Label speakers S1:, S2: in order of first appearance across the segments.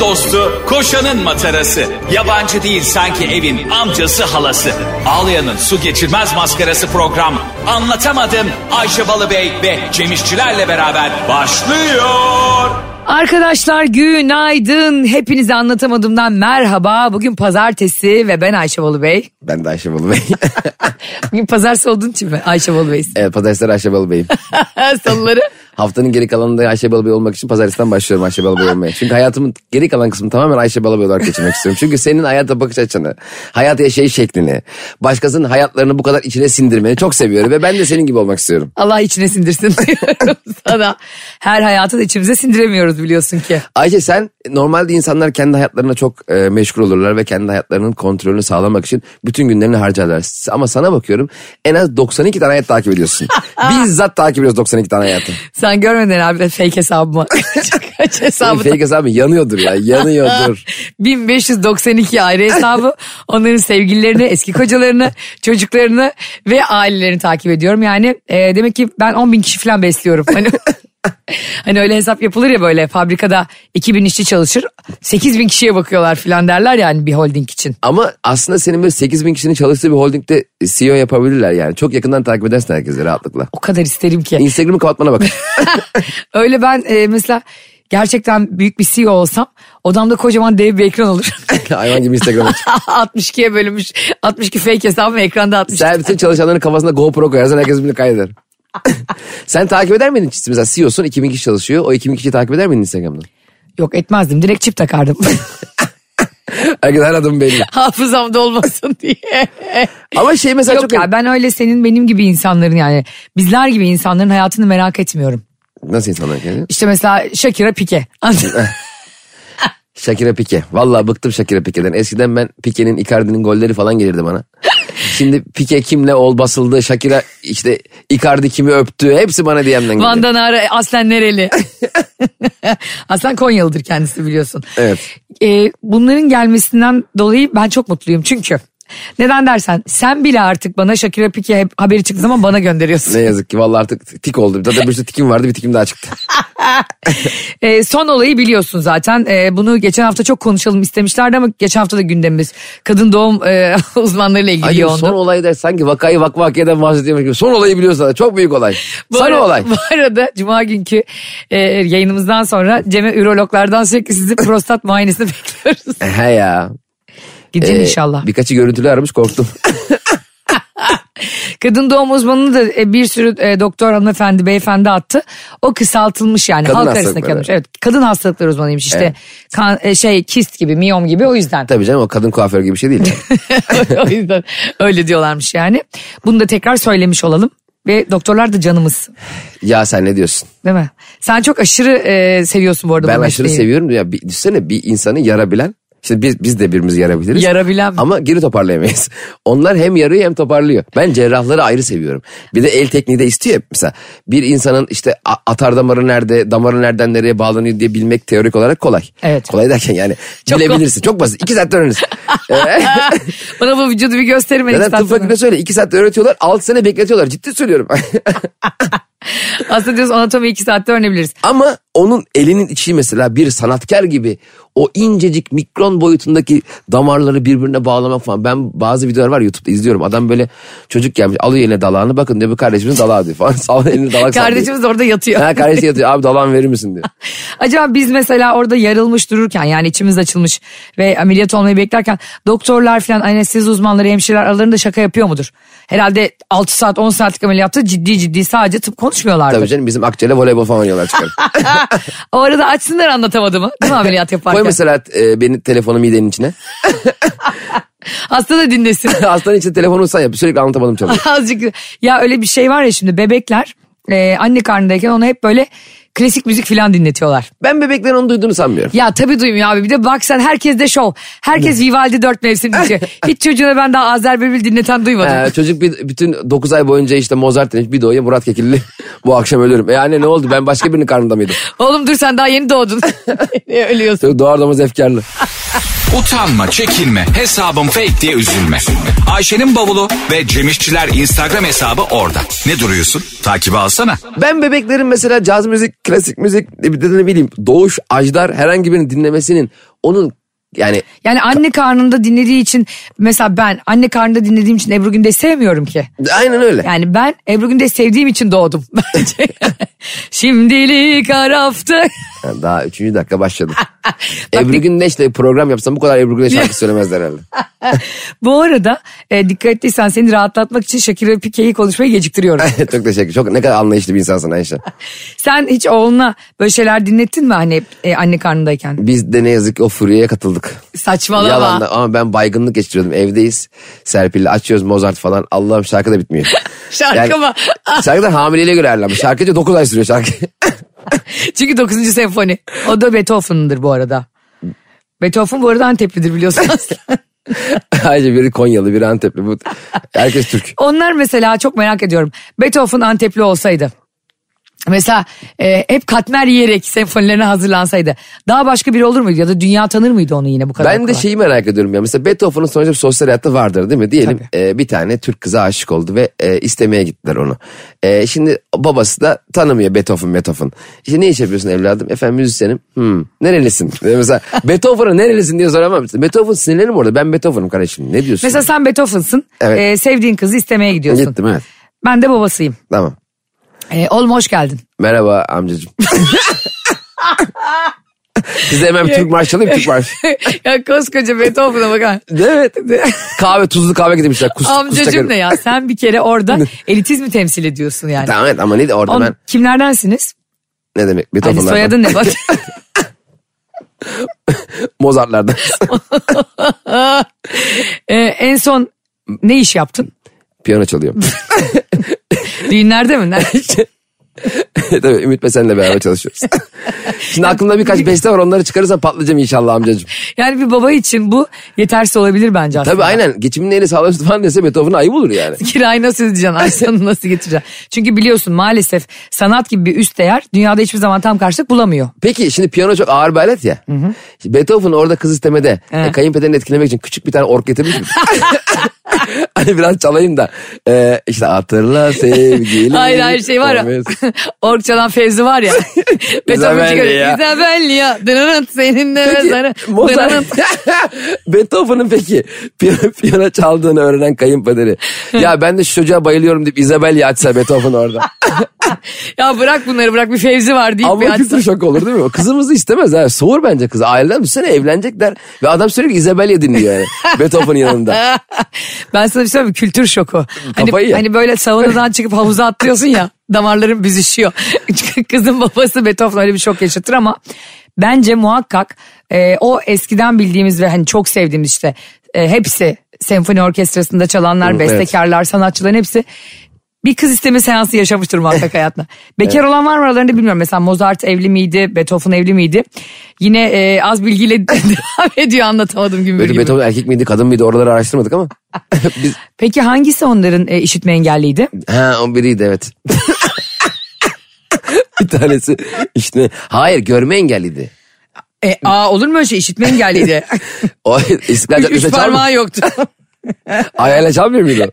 S1: dostu, koşanın matarası. Yabancı değil sanki evin amcası halası. Ağlayanın su geçirmez maskarası program. Anlatamadım Ayşe Balıbey ve Cemişçilerle beraber başlıyor.
S2: Arkadaşlar günaydın. Hepinize anlatamadığımdan merhaba. Bugün pazartesi ve ben Ayşe Balı Bey.
S3: Ben de Ayşe Balı Bey.
S2: Bugün pazartesi olduğun için mi Ayşe Balı Bey'sin?
S3: evet pazartesi Ayşe Balı Bey'im.
S2: Salıları.
S3: Haftanın geri kalanında Ayşe Balı Bey olmak için pazartesinden başlıyorum Ayşe Balı Bey olmaya. Çünkü hayatımın geri kalan kısmı tamamen Ayşe Balı Bey olarak geçirmek istiyorum. Çünkü senin hayata bakış açını, hayat yaşayış şeklini, başkasının hayatlarını bu kadar içine sindirmeni çok seviyorum. Ve ben de senin gibi olmak istiyorum.
S2: Allah içine sindirsin diyorum sana. Her hayatı da içimize sindiremiyoruz biliyorsun ki.
S3: Ayşe sen normalde insanlar kendi hayatlarına çok e, meşgul olurlar ve kendi hayatlarının kontrolünü sağlamak için bütün günlerini harcarlar. Ama sana bakıyorum en az 92 tane hayat takip ediyorsun. Bizzat takip ediyoruz 92 tane hayatı.
S2: Sen görmedin abi fake hesabımı. Kaç hesabı?
S3: Senin fake hesabın yanıyordur ya yanıyordur.
S2: 1592 ayrı hesabı. Onların sevgililerini, eski kocalarını, çocuklarını ve ailelerini takip ediyorum. Yani e, demek ki ben 10 bin kişi falan besliyorum. Hani, hani öyle hesap yapılır ya böyle fabrikada 2000 işçi çalışır. 8 bin kişiye bakıyorlar falan derler yani bir holding için.
S3: Ama aslında senin böyle 8 bin kişinin çalıştığı bir holdingde e, CEO yapabilirler yani. Çok yakından takip edersin herkesi rahatlıkla.
S2: O kadar isterim ki.
S3: Instagram'ı kapatmana bak.
S2: Öyle ben e, mesela gerçekten büyük bir CEO olsam odamda kocaman dev bir ekran olur.
S3: Hayvan gibi Instagram aç.
S2: 62'ye bölünmüş 62 fake hesabım ekranda 60.
S3: Sen bütün çalışanların kafasında GoPro koyarsan herkes birbirini kaydeder. Sen takip eder miydin? Mesela E CEO'sun 2000 kişi çalışıyor. O 2000 kişiyi takip eder miydin Instagram'dan?
S2: Yok etmezdim direkt çip takardım.
S3: Herkes her adım belli.
S2: hafızamda olmasın diye.
S3: Ama şey mesela
S2: Yok
S3: çok...
S2: ya ben öyle senin benim gibi insanların yani bizler gibi insanların hayatını merak etmiyorum.
S3: Nasıl insanlar yani?
S2: İşte mesela Shakira Pique.
S3: Shakira Pique. Vallahi bıktım Shakira Pique'den. Eskiden ben Pique'nin, Icardi'nin golleri falan gelirdi bana. Şimdi Pique kimle ol basıldı, Shakira işte Icardi kimi öptü, hepsi bana DM'den geliyor.
S2: Van Danara aslen nereli? aslen Konyalıdır kendisi biliyorsun.
S3: Evet.
S2: Ee, bunların gelmesinden dolayı ben çok mutluyum çünkü. Neden dersen sen bile artık bana Shakira Pique hep haberi çıktığı zaman bana gönderiyorsun.
S3: Ne yazık ki vallahi artık tik oldu. Zaten bir sürü tikim vardı bir tikim daha çıktı.
S2: Ee, son olayı biliyorsun zaten. Ee, bunu geçen hafta çok konuşalım istemişlerdi ama geçen hafta da gündemimiz kadın doğum e, uzmanlarıyla ilgili
S3: Ay,
S2: yoğundu.
S3: son olay der sanki vakayı vakvakiyeden bahsediyormuş gibi. Son olayı biliyorsun zaten çok büyük olay.
S2: Bu
S3: Son
S2: ara-
S3: olay.
S2: Bu arada cuma günkü e, yayınımızdan sonra Cem'e ürologlardan sürekli sizi prostat muayenesini bekliyoruz. E,
S3: He ya.
S2: Gidin
S3: Ee,
S2: inşallah.
S3: Birkaçı görüntülü aramış korktum.
S2: Kadın doğum uzmanını da e, bir sürü e, doktor hanımefendi beyefendi attı. O kısaltılmış yani
S3: Kadın
S2: halk arasında
S3: hastalıkları.
S2: kalmış. Evet kadın hastalıkları uzmanıymış işte kan, e, şey kist gibi miyom gibi o yüzden.
S3: Tabii canım o kadın kuaför gibi bir şey değil. yani.
S2: o yüzden öyle diyorlarmış yani. Bunu da tekrar söylemiş olalım. Ve doktorlar da canımız
S3: ya sen ne diyorsun?
S2: değil mi? Sen çok aşırı e, seviyorsun bu arada
S3: Ben
S2: bu
S3: aşırı
S2: mesleği.
S3: seviyorum. Ya bir, düşünsene bir insanı yarabilen. Şimdi biz, biz de birimiz yarabiliriz.
S2: Yarabilen mi?
S3: Ama geri toparlayamayız. Onlar hem yarıyor hem toparlıyor. Ben cerrahları ayrı seviyorum. Bir de el tekniği de istiyor. ya. Mesela bir insanın işte a- atar damarı nerede, damarı nereden nereye bağlanıyor diye bilmek teorik olarak kolay.
S2: Evet.
S3: Kolay derken yani
S2: Çok
S3: bilebilirsin. Çok basit. İki saatte öğrenirsin. Ee,
S2: Bana bu vücudu bir gösterin ben
S3: Zaten
S2: istersen.
S3: tıp fakültesi öyle. İki saatte öğretiyorlar. Altı sene bekletiyorlar. Ciddi söylüyorum.
S2: Aslında diyoruz anatomi iki saatte öğrenebiliriz.
S3: Ama onun elinin içi mesela bir sanatkar gibi o incecik mikron boyutundaki damarları birbirine bağlamak falan. Ben bazı videolar var YouTube'da izliyorum. Adam böyle çocuk gelmiş alıyor eline dalağını bakın diyor bu kardeşimiz dalağı diyor falan. Sağ elini dalak sallıyor.
S2: Kardeşimiz orada yatıyor.
S3: Ha kardeşi yatıyor abi dalağını verir misin diyor.
S2: Acaba biz mesela orada yarılmış dururken yani içimiz açılmış ve ameliyat olmayı beklerken doktorlar falan anestezi uzmanları hemşireler aralarında şaka yapıyor mudur? Herhalde 6 saat 10 saatlik ameliyatta ciddi ciddi sadece tıp konuşmuyorlardır.
S3: Tabii canım bizim akçeyle voleybol falan oynuyorlar çıkar.
S2: O arada açsınlar anlatamadığımı değil mi ameliyat
S3: Koy
S2: yaparken?
S3: mesela e, benim telefonu midenin içine.
S2: Hasta da dinlesin.
S3: Hastanın içinde telefonu sen yap. Sürekli anlatamadım çalıyor.
S2: Azıcık ya öyle bir şey var ya şimdi bebekler e, anne karnındayken ona hep böyle klasik müzik falan dinletiyorlar.
S3: Ben bebeklerin onu duyduğunu sanmıyorum.
S2: Ya tabii duymuyor abi. Bir de bak sen herkes de şov. Herkes Vivaldi dört mevsim dinliyor. Hiç çocuğuna ben daha Azer Bülbül dinleten duymadım.
S3: Ee, çocuk bir, bütün 9 ay boyunca işte Mozart demiş bir doğuya Murat Kekilli bu akşam ölürüm. E anne ne oldu ben başka birinin karnında mıydım?
S2: Oğlum dur sen daha yeni doğdun. Ölüyorsun.
S3: Doğar doğmaz efkarlı.
S1: Utanma, çekinme, hesabım fake diye üzülme. Ayşe'nin bavulu ve Cemişçiler Instagram hesabı orada. Ne duruyorsun? Takibi alsana.
S3: Ben bebeklerin mesela caz müzik, klasik müzik, ne ne bileyim doğuş, ajdar herhangi birini dinlemesinin onun yani
S2: Yani anne karnında dinlediği için mesela ben anne karnında dinlediğim için Ebru Gündeş'i sevmiyorum ki.
S3: aynen öyle.
S2: Yani ben Ebru Gündeş'i sevdiğim için doğdum bence. Şimdilik araftı.
S3: Yani daha üçüncü dakika başladı. Ebru Gündeş'le program yapsam bu kadar Ebru Gündeş şarkı söylemezler herhalde.
S2: Bu arada e, dikkat ettiysen seni rahatlatmak için Şakir ve Pike'yi konuşmayı geciktiriyorum.
S3: çok teşekkür. Çok ne kadar anlayışlı bir insansın Ayşe.
S2: Sen hiç oğluna böyle şeyler dinlettin mi hani e, anne karnındayken?
S3: Biz de ne yazık ki o furyaya katıldık.
S2: Saçmalama.
S3: Yalan da- ama ben baygınlık geçiriyordum. Evdeyiz. Serpil'le açıyoruz Mozart falan. Allah'ım şarkı da bitmiyor.
S2: Şarkı mı?
S3: şarkı da hamileliğe göre ayarlanmış. Şarkıcı 9 ay sürüyor şarkı.
S2: Çünkü 9. senfoni. O da Beethoven'dır bu arada. Beethoven bu arada Anteplidir biliyorsunuz.
S3: Ayrıca biri Konyalı, biri Antepli. Bu, herkes Türk.
S2: Onlar mesela çok merak ediyorum. Beethoven Antepli olsaydı. Mesela e, hep katmer yiyerek senfonilerine hazırlansaydı. Daha başka biri olur muydu ya da dünya tanır mıydı onu yine bu kadar?
S3: Ben de şey-
S2: kolay?
S3: şeyi merak ediyorum ya. Mesela Beethoven'ın sonuçta bir sosyal hayatta vardır değil mi? Diyelim e, bir tane Türk kıza aşık oldu ve e, istemeye gittiler onu. E, şimdi babası da tanımıyor Beethoven, Beethoven. İşte ne iş yapıyorsun evladım? Efendim müzisyenim. Hmm, nerelisin? E, Mesela Beethoven'a nerelisin diye soramam. Beethoven sinirlerim orada. Ben Beethoven'ım kardeşim. Ne diyorsun?
S2: Mesela sen Beethoven'sın.
S3: Evet.
S2: E, sevdiğin kızı istemeye gidiyorsun.
S3: Gittim evet.
S2: Ben de babasıyım.
S3: Tamam.
S2: E, oğlum hoş geldin.
S3: Merhaba amcacığım. Size hemen bir Türk marşı alayım Türk marşı.
S2: ya koskoca Beethoven'a bakar.
S3: Evet. Kahve tuzlu kahve getirmişler. Kus,
S2: Amcacım
S3: kusacak-
S2: ne ya sen bir kere orada elitizmi temsil ediyorsun yani.
S3: Tamam evet ama neydi orada
S2: Oğlum,
S3: ben
S2: kimlerdensiniz?
S3: ne demek
S2: Hani
S3: Beethoven'lardan.
S2: soyadın ne bak.
S3: Mozart'lardan.
S2: E, en son ne iş yaptın?
S3: Piyano çalıyorum.
S2: Düğünlerde mi? Nerede?
S3: Tabii Ümit ve senle beraber çalışıyoruz. Şimdi aklımda birkaç beste var onları çıkarırsam patlayacağım inşallah amcacığım.
S2: Yani bir baba için bu yetersiz olabilir bence aslında.
S3: Tabii aynen geçimini eli sağlamıştı falan dese Beethoven'a ayıp olur yani.
S2: Kirayı nasıl ödeyeceksin? Aysan'ı nasıl getireceksin? Çünkü biliyorsun maalesef sanat gibi bir üst değer dünyada hiçbir zaman tam karşılık bulamıyor.
S3: Peki şimdi piyano çok ağır bir alet ya. Şimdi Beethoven orada kız istemede
S2: He.
S3: e, kayınpederini etkilemek için küçük bir tane ork getirmiş mi? hani biraz çalayım da e, işte hatırla sevgili.
S2: Hayır her şey var ya.
S3: Olmaz.
S2: Ork çalan Fevzi var ya. Beethoven
S3: Isabel
S2: çıkarıyor.
S3: ya.
S2: İzabel ya. Dırırınt seninle mezarı.
S3: Peki, Mozart,
S2: Dırırınt.
S3: Beethoven'ın peki piyano, piyano çaldığını öğrenen kayınpederi. Ya ben de şu çocuğa bayılıyorum deyip İzabelya açsa Beethoven orada.
S2: Ya bırak bunları bırak bir Fevzi var deyip bir
S3: Ama
S2: açsın.
S3: kültür şok olur değil mi? Kızımızı istemez ha. Soğur bence kızı. Aileler bu sene evlenecekler. Ve adam sürekli İzabelya dinliyor yani. Beethoven'ın yanında.
S2: ben sana bir şey söyleyeyim mi? Kültür şoku.
S3: Kafayı
S2: Hani,
S3: ye.
S2: hani böyle saunadan çıkıp havuza atlıyorsun ya damarların büzüşüyor. Kızın babası Beethoven öyle bir şok yaşatır ama bence muhakkak e, o eskiden bildiğimiz ve hani çok sevdiğimiz işte e, hepsi senfoni orkestrasında çalanlar,
S3: evet.
S2: bestekarlar, sanatçıların hepsi bir kız isteme seansı yaşamıştır muhakkak hayatına. Bekar olan var mı aralarında bilmiyorum. Mesela Mozart evli miydi, Beethoven evli miydi? Yine e, az bilgiyle devam ediyor anlatamadım gibi.
S3: Böyle Beethoven erkek miydi kadın mıydı oraları araştırmadık ama. Biz,
S2: Peki hangisi onların e, işitme engelliydi?
S3: ha o biriydi evet. bir tanesi işte hayır görme engelliydi.
S2: E, aa olur mu öyle şey işitme engelliydi.
S3: O İstiklal
S2: üç,
S3: Caddesi'nde
S2: üç
S3: çalmıyor.
S2: parmağı yoktu.
S3: Ayağıyla çalmıyor muydu?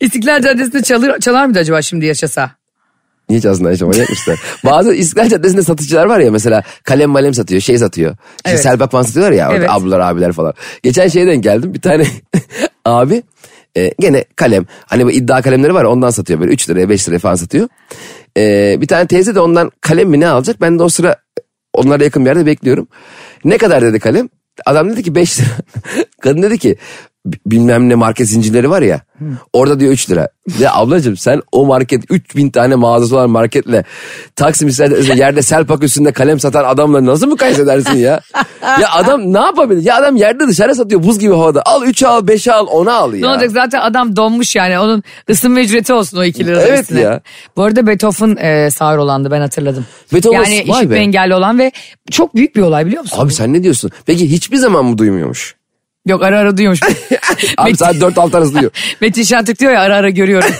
S2: İstiklal Caddesi'nde çalır, çalar mıydı acaba şimdi yaşasa?
S3: Niye çalsın Ayşe manyak mısın sen? Bazı İstiklal Caddesi'nde satıcılar var ya mesela kalem malem satıyor şey satıyor. Şey
S2: Evet.
S3: Selbak falan satıyorlar ya orada
S2: Evet.
S3: ablalar abiler falan. Geçen şeyden geldim bir tane abi e, gene kalem hani bu iddia kalemleri var ya, ondan satıyor böyle 3 liraya 5 liraya falan satıyor. E, bir tane teyze de ondan kalem mi ne alacak ben de o sıra onlara yakın bir yerde bekliyorum. Ne kadar dedi kalem? Adam dedi ki 5 lira. Kadın dedi ki "B- bilmem ne market zincirleri var ya. Orada diyor 3 lira. Ya ablacığım sen o market 3000 tane mağazası olan marketle Taksim İsrail'de yerde selpak üstünde kalem satan adamla nasıl mı kayıt edersin ya? ya adam ne yapabilir? Ya adam yerde dışarı satıyor buz gibi havada. Al 3 al 5 al 10'a al ya.
S2: Ne olacak zaten adam donmuş yani onun ısınma ücreti olsun o 2 lira
S3: Evet
S2: üstüne.
S3: ya.
S2: Bu arada Beethoven e, sağır olandı ben hatırladım.
S3: Beethoven-
S2: yani
S3: vay
S2: işitme
S3: be.
S2: engelli olan ve çok büyük bir olay biliyor musun?
S3: Abi sen ne diyorsun? Peki hiçbir zaman mı duymuyormuş?
S2: Yok ara ara duyuyormuş.
S3: Abi
S2: Metin,
S3: saat 4-6 arası duyuyor.
S2: Metin Şentürk diyor ya ara ara görüyorum.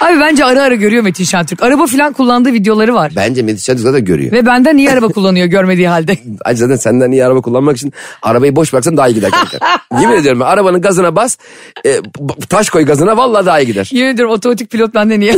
S2: Abi bence ara ara görüyor Metin Şentürk. Araba falan kullandığı videoları var.
S3: Bence Metin Şentürk zaten görüyor.
S2: Ve benden niye araba kullanıyor görmediği halde?
S3: Ay zaten senden iyi araba kullanmak için arabayı boş bıraksan daha iyi gider kanka. Yemin ediyorum ben arabanın gazına bas, e, b- taş koy gazına vallahi daha iyi gider.
S2: Yemin ediyorum otomatik pilot benden niye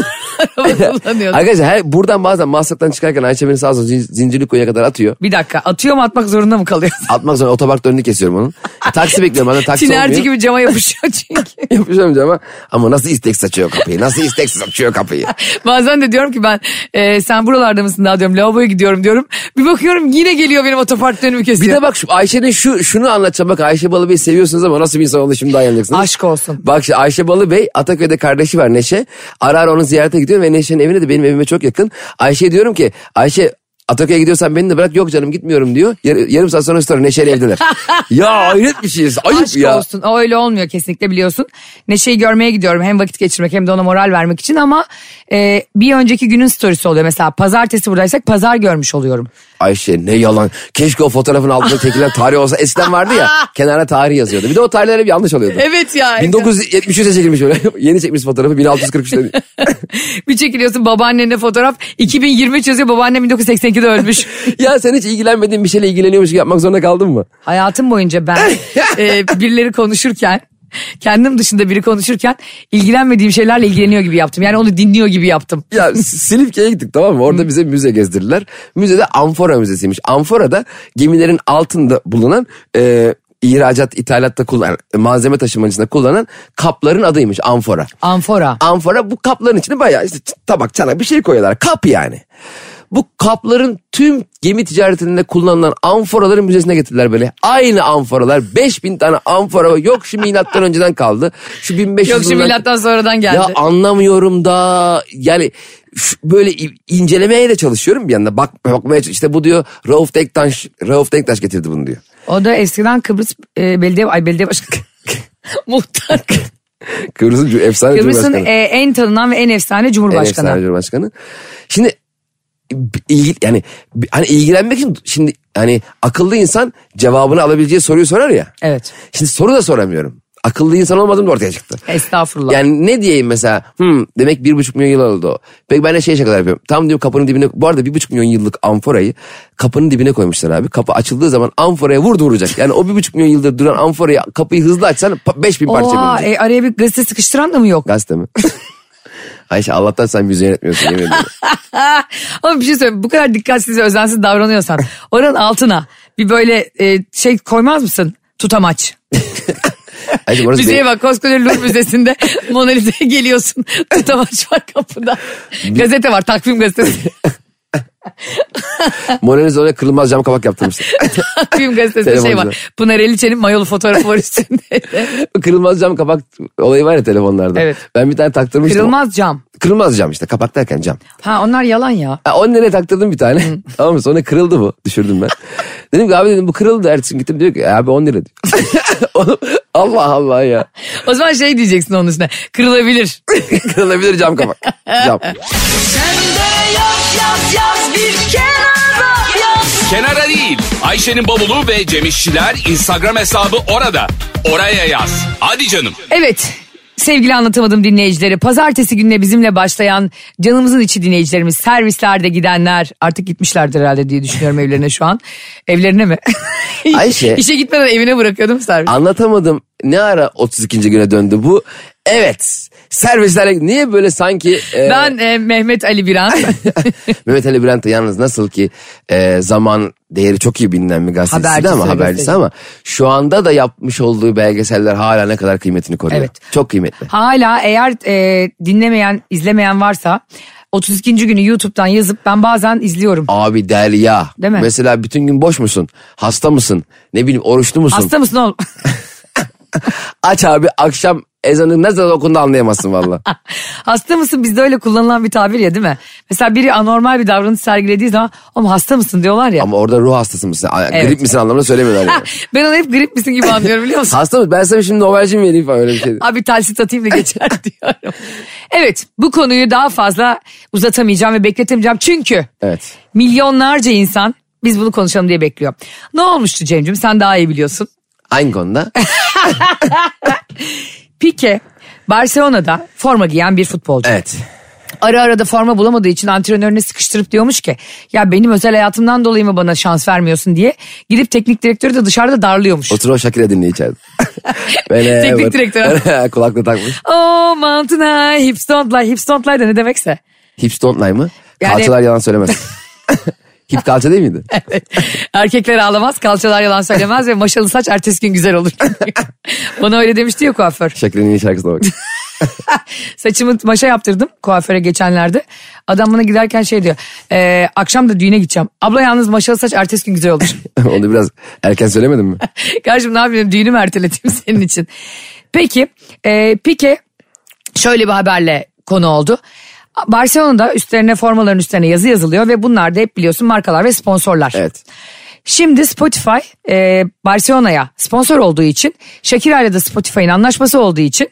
S2: araba kullanıyor?
S3: Arkadaşlar her, buradan bazen Maslak'tan çıkarken Ayşe beni sağ olsun Zin- Zincirlikuyu'ya kadar atıyor.
S2: Bir dakika atıyor mu atmak zorunda mı kalıyor?
S3: Atmak sonra otoparkta önünü kesiyorum onun. E, Taksi bekliyorum bana taksi olmuyor.
S2: Tinerci gibi cama yapışıyor çünkü.
S3: Yapışamayacağım ama, ama nasıl istek saçıyor kapıyı? Nasıl istek saçıyor kapıyı?
S2: Bazen de diyorum ki ben e, sen buralarda mısın daha diyorum lavaboya gidiyorum diyorum. Bir bakıyorum yine geliyor benim otoparkta önümü
S3: Bir
S2: kesiyor.
S3: de bak şu Ayşe'nin şu şunu anlatacağım. Bak Ayşe Balıbey'i seviyorsunuz ama nasıl bir insan olduğunu şimdi anlayacaksınız.
S2: Aşk olsun.
S3: Bak şimdi Ayşe Balıbey Ataköy'de kardeşi var Neşe. Ara ara onu ziyarete gidiyorum ve Neşe'nin evine de benim evime çok yakın. Ayşe'ye diyorum ki Ayşe Ataköy'e gidiyorsan beni de bırak yok canım gitmiyorum diyor. Yar- yarım saat sonra sonra Neşe'yle evdeler. ya hayret bir şeyiz. Ayıp
S2: Aşk
S3: ya.
S2: olsun. O öyle olmuyor kesinlikle biliyorsun. Neşe'yi görmeye gidiyorum hem vakit geçirmek hem de ona moral vermek için ama e, bir önceki günün storiesi oluyor. Mesela pazartesi buradaysak pazar görmüş oluyorum.
S3: Ayşe ne yalan. Keşke o fotoğrafın altında çekilen tarih olsa. Eskiden vardı ya kenara tarih yazıyordu. Bir de o tarihler hep yanlış oluyordu.
S2: Evet ya.
S3: 1973'e çekilmiş böyle. Yeni çekmiş fotoğrafı 1643'te.
S2: Bir çekiliyorsun babaannenle fotoğraf 2023 yazıyor babaannem 1982'de ölmüş.
S3: Ya sen hiç ilgilenmediğin bir şeyle ilgileniyormuş gibi yapmak zorunda kaldın mı?
S2: Hayatım boyunca ben e, birileri konuşurken kendim dışında biri konuşurken ilgilenmediğim şeylerle ilgileniyor gibi yaptım. Yani onu dinliyor gibi yaptım.
S3: Ya S- Silifke'ye gittik tamam mı? Orada bize müze gezdirdiler. Müzede amfora müzesiymiş. Amforada gemilerin altında bulunan e, ihracat, ithalatta kullanan, malzeme taşımacısında kullanan kapların adıymış amfora.
S2: Amfora.
S3: Amfora bu kapların içine bayağı işte ç- tabak, çanak bir şey koyuyorlar. Kap yani. Bu kapların tüm gemi ticaretinde kullanılan amforaları müzesine getirdiler böyle. Aynı amforalar 5000 tane amfora var. yok şu milattan önceden kaldı. Şu 1500
S2: Yok şimdi
S3: yılından-
S2: milattan sonradan geldi.
S3: Ya anlamıyorum da yani şu- böyle i- incelemeye de çalışıyorum bir yanda. Bak, bakmaya çalış- işte bu diyor Rauf Denktaş, Rauf Denktaş getirdi bunu diyor.
S2: O da eskiden Kıbrıs e, belediye ay belediye başkanı. Muhtar.
S3: Kıbrıs'ın cu- efsane
S2: Kıbrıs'ın
S3: Cumhurbaşkanı.
S2: e, en tanınan ve en efsane Cumhurbaşkanı.
S3: En efsane Cumhurbaşkanı. Şimdi b- ilgi, yani b- hani ilgilenmek için şimdi hani akıllı insan cevabını alabileceği soruyu sorar ya.
S2: Evet.
S3: Şimdi soru da soramıyorum. Akıllı insan olmadığım da ortaya çıktı.
S2: Estağfurullah.
S3: Yani ne diyeyim mesela hmm, demek bir buçuk milyon yıl oldu o. Peki ben de şey şakalar yapıyorum. Tam diyorum kapının dibine bu arada bir buçuk milyon yıllık amforayı kapının dibine koymuşlar abi. Kapı açıldığı zaman amforaya vurdu vuracak. Yani o bir buçuk milyon yıldır duran amforayı kapıyı hızlı açsan pa- beş bin parça
S2: Oha,
S3: bölünecek.
S2: e, araya bir gazete sıkıştıran da mı yok?
S3: Gazete mi? Ayşe Allah'tan sen müziği yönetmiyorsun yemin ediyorum.
S2: Ama bir şey söyleyeyim bu kadar dikkatsiz ve özensiz davranıyorsan oranın altına bir böyle e, şey koymaz mısın? Tutamaç.
S3: Ayşe orası
S2: Müzeye
S3: benim-
S2: bak koskoca Louvre Müzesi'nde Mona Lisa'ya geliyorsun. Tutamaç var kapıda. Gazete var takvim gazetesi.
S3: Mona Lisa oraya kırılmaz cam kapak yaptırmışlar.
S2: takvim gazetesinde şey
S3: Telefoncuda.
S2: var. Pınar Eliçen'in mayolu fotoğrafı var üstünde.
S3: kırılmaz cam kapak olayı var ya telefonlarda.
S2: Evet.
S3: Ben bir tane taktırmıştım.
S2: Kırılmaz cam.
S3: Kırılmaz cam işte kapak derken cam.
S2: Ha onlar yalan ya.
S3: Ha, 10 liraya taktırdım bir tane. tamam mı? Sonra kırıldı bu. Düşürdüm ben. dedim ki abi dedim bu kırıldı. Ertesi gün gittim diyor ki "E, abi 10 lira diyor. Oğlum, Allah Allah ya.
S2: O zaman şey diyeceksin onun üstüne. Kırılabilir.
S3: Kırılabilir cam kapak. Cam.
S1: Kenara değil. Ayşe'nin bavulu ve Cemişçiler Instagram hesabı orada. Oraya yaz. Hadi canım.
S2: Evet. Sevgili anlatamadım dinleyicileri. Pazartesi gününe bizimle başlayan canımızın içi dinleyicilerimiz, servislerde gidenler artık gitmişlerdir herhalde diye düşünüyorum evlerine şu an. Evlerine mi?
S3: Ayşe.
S2: İşe gitmeden evine bırakıyordum servis.
S3: Anlatamadım. Ne ara 32. güne döndü bu? Evet. Servislerle niye böyle sanki e,
S2: Ben e, Mehmet Ali Biran.
S3: Mehmet Ali Bülent de yalnız nasıl ki e, zaman değeri çok iyi bilinen bir gazetecisi
S2: Habercisi,
S3: de ama
S2: gazeteci.
S3: habercisi ama şu anda da yapmış olduğu belgeseller hala ne kadar kıymetini koruyor.
S2: Evet.
S3: Çok kıymetli.
S2: Hala eğer e, dinlemeyen, izlemeyen varsa 32. günü YouTube'dan yazıp ben bazen izliyorum.
S3: Abi Derya.
S2: Değil mi?
S3: Mesela bütün gün boş musun? Hasta mısın? Ne bileyim oruçlu musun?
S2: Hasta mısın oğlum?
S3: Aç abi akşam ezanı ne zaman okundu anlayamazsın valla.
S2: hasta mısın bizde öyle kullanılan bir tabir ya değil mi? Mesela biri anormal bir davranış sergilediği zaman oğlum hasta mısın diyorlar ya.
S3: Ama orada ruh hastası mısın? Ay,
S2: Evet.
S3: Grip misin anlamında söylemiyorlar. yani.
S2: Ben onu hep grip misin gibi anlıyorum biliyor musun?
S3: Hasta mısın? Ben sana şimdi overjin vereyim falan öyle bir şey.
S2: Abi talsit atayım da geçer diyorum. Evet bu konuyu daha fazla uzatamayacağım ve bekletemeyeceğim. Çünkü
S3: Evet.
S2: milyonlarca insan biz bunu konuşalım diye bekliyor. Ne olmuştu Cem'cim sen daha iyi biliyorsun.
S3: Hangi konuda?
S2: Pike Barcelona'da forma giyen bir futbolcu.
S3: Evet.
S2: Ara ara da forma bulamadığı için antrenörüne sıkıştırıp diyormuş ki ya benim özel hayatımdan dolayı mı bana şans vermiyorsun diye gidip teknik direktörü de dışarıda darlıyormuş.
S3: Otur o Shakira dinle içeride. Böyle-
S2: Teknik direktör.
S3: Kulaklığı takmış.
S2: Oh mountain high, hips don't lie, hips don't lie de ne demekse.
S3: Hips don't lie mı?
S2: Yani-
S3: Kalçalar yalan söylemez. Hip kalça değil miydi?
S2: Erkekler ağlamaz, kalçalar yalan söylemez ve maşalı saç ertesi gün güzel olur. Bana öyle demişti ya kuaför.
S3: Shakira'nın yeni şarkısına bak.
S2: Saçımı maşa yaptırdım kuaföre geçenlerde. Adam bana giderken şey diyor. "Ee, akşam da düğüne gideceğim. Abla yalnız maşalı saç ertesi gün güzel olur.
S3: Onu biraz erken söylemedin mi?
S2: Karşım ne yapayım düğünü mü erteleteyim senin için. Peki e, Pique şöyle bir haberle konu oldu. Barcelona'da üstlerine formaların üstlerine yazı yazılıyor ve bunlar da hep biliyorsun markalar ve sponsorlar.
S3: Evet.
S2: Şimdi Spotify e, Barcelona'ya sponsor olduğu için Shakira ile de Spotify'ın anlaşması olduğu için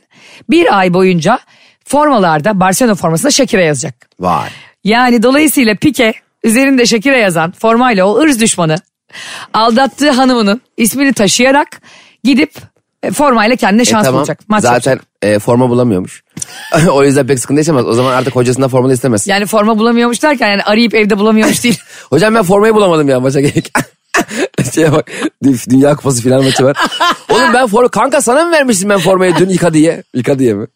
S2: bir ay boyunca formalarda Barcelona formasında Shakira yazacak.
S3: Vay.
S2: Yani dolayısıyla Pique üzerinde Shakira yazan formayla o ırz düşmanı aldattığı hanımının ismini taşıyarak gidip e, formayla kendine şans bulacak. Maç yapacak.
S3: Zaten e, forma bulamıyormuş. o yüzden pek sıkıntı yaşamaz. O zaman artık hocasından forma da istemez.
S2: Yani forma bulamıyormuş derken yani arayıp evde bulamıyormuş değil.
S3: Hocam ben formayı bulamadım ya maça gerek. Şeye bak dü- dünya kupası final maçı var. Oğlum ben forma kanka sana mı vermiştim ben formayı dün yıka diye? Yıka diye mi?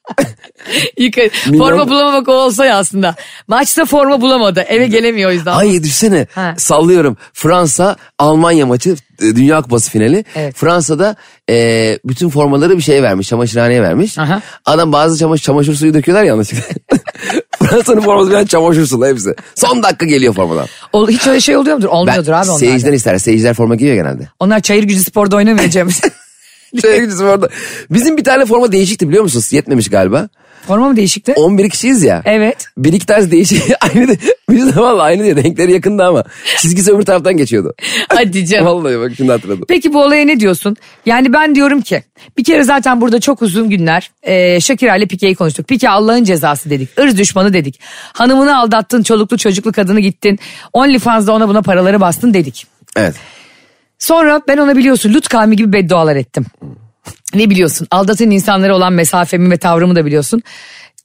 S2: Yıka-
S3: Milyon-
S2: forma bulamamak o olsa ya aslında. Maçta forma bulamadı. Eve gelemiyor o yüzden.
S3: Ay düşsene
S2: Ha.
S3: sallıyorum Fransa Almanya maçı e, dünya kupası finali.
S2: Evet.
S3: Fransa'da e, bütün formaları bir şeye vermiş çamaşırhaneye vermiş.
S2: Aha.
S3: Adam bazı çamaşır, çamaşır suyu döküyorlar ya yanlışlıkla. Fransa'nın forması bir an çamaşır sulu hepsi. Son dakika geliyor formadan.
S2: Ol- Hiç öyle şey oluyor mudur?
S3: Ben-
S2: Olmuyordur abi onlar.
S3: Seyirciler ister. Seyirciler forma giyiyor genelde.
S2: Onlar çayır gücü sporda oynamayacağım.
S3: Seyircisi orada. Bizim bir tane forma değişikti biliyor musunuz? Yetmemiş galiba.
S2: forma mı değişikti?
S3: 11 kişiyiz ya.
S2: Evet.
S3: Bir iki tane değişik. aynı de, biz de vallahi aynı diye renkleri yakındı ama çizgisi öbür taraftan geçiyordu.
S2: Hadi canım.
S3: Vallahi bak şimdi hatırladım.
S2: Peki bu olaya ne diyorsun? Yani ben diyorum ki bir kere zaten burada çok uzun günler e, Shakira ile Pike'yi konuştuk. Pike Allah'ın cezası dedik. ırz düşmanı dedik. Hanımını aldattın, çoluklu çocuklu kadını gittin. OnlyFans'da ona buna paraları bastın dedik.
S3: Evet.
S2: Sonra ben ona biliyorsun Lut kavmi gibi beddualar ettim. Ne biliyorsun? Aldatan insanlara olan mesafemi ve tavrımı da biliyorsun.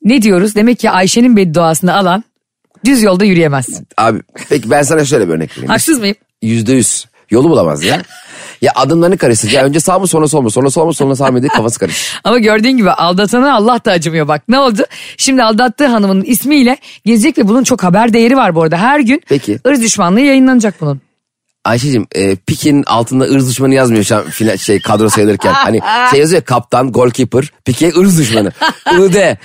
S2: Ne diyoruz? Demek ki Ayşe'nin bedduasını alan düz yolda yürüyemez.
S3: Abi peki ben sana şöyle bir örnek vereyim.
S2: Haksız mıyım?
S3: Yüzde yüz. Yolu bulamaz ya. Ya adımlarını karıştır. Ya önce sağ mı sonra sol mu? Sonra sol mu sonra sağ mı diye kafası karışır.
S2: Ama gördüğün gibi aldatana Allah da acımıyor bak. Ne oldu? Şimdi aldattığı hanımın ismiyle gezecek ve bunun çok haber değeri var bu arada. Her gün
S3: Peki.
S2: ırz düşmanlığı yayınlanacak bunun.
S3: Ayşe'cim e, Pikin altında ırz düşmanı yazmıyor şu an final, şey, kadro sayılırken. Hani şey yazıyor ya, kaptan, goalkeeper, Pike ırz düşmanı. Iğde.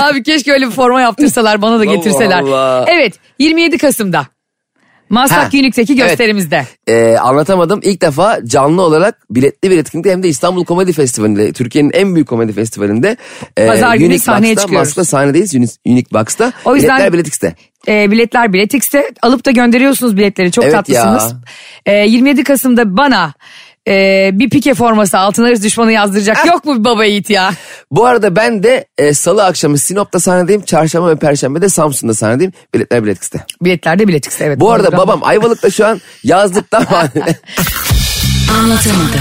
S2: Abi keşke öyle bir forma yaptırsalar bana da getirseler.
S3: Allah.
S2: Evet 27 Kasım'da.
S3: Ha,
S2: Maslak Unique'deki
S3: evet.
S2: gösterimizde.
S3: Ee, anlatamadım. İlk defa canlı olarak biletli bir etkinlikte hem de İstanbul Komedi Festivali'nde Türkiye'nin en büyük komedi festivalinde e,
S2: Pazar günü
S3: Unique
S2: sahneye
S3: Box'ta,
S2: çıkıyoruz.
S3: Mask'ta sahnedeyiz Unique, Unique Box'ta.
S2: O yüzden-
S3: Biletler Bilet X'te.
S2: E, biletler biletikse alıp da gönderiyorsunuz biletleri çok
S3: Evet
S2: tatlısınız. E, 27 Kasım'da bana e, bir pike forması altına ırz düşmanı
S3: Ah.
S2: yazdıracak yok mu bir baba yiğit ya?
S3: Bu arada ben de e, salı akşamı Sinop'ta sahnedeyim. Çarşamba ve perşembe de Samsun'da sahnedeyim. Biletler Bilet X'te.
S2: Biletler de biletikse evet.
S3: Bu arada
S2: Doğru.
S3: babam Ayvalık'ta şu an yazlıkta
S2: Anlatamadı.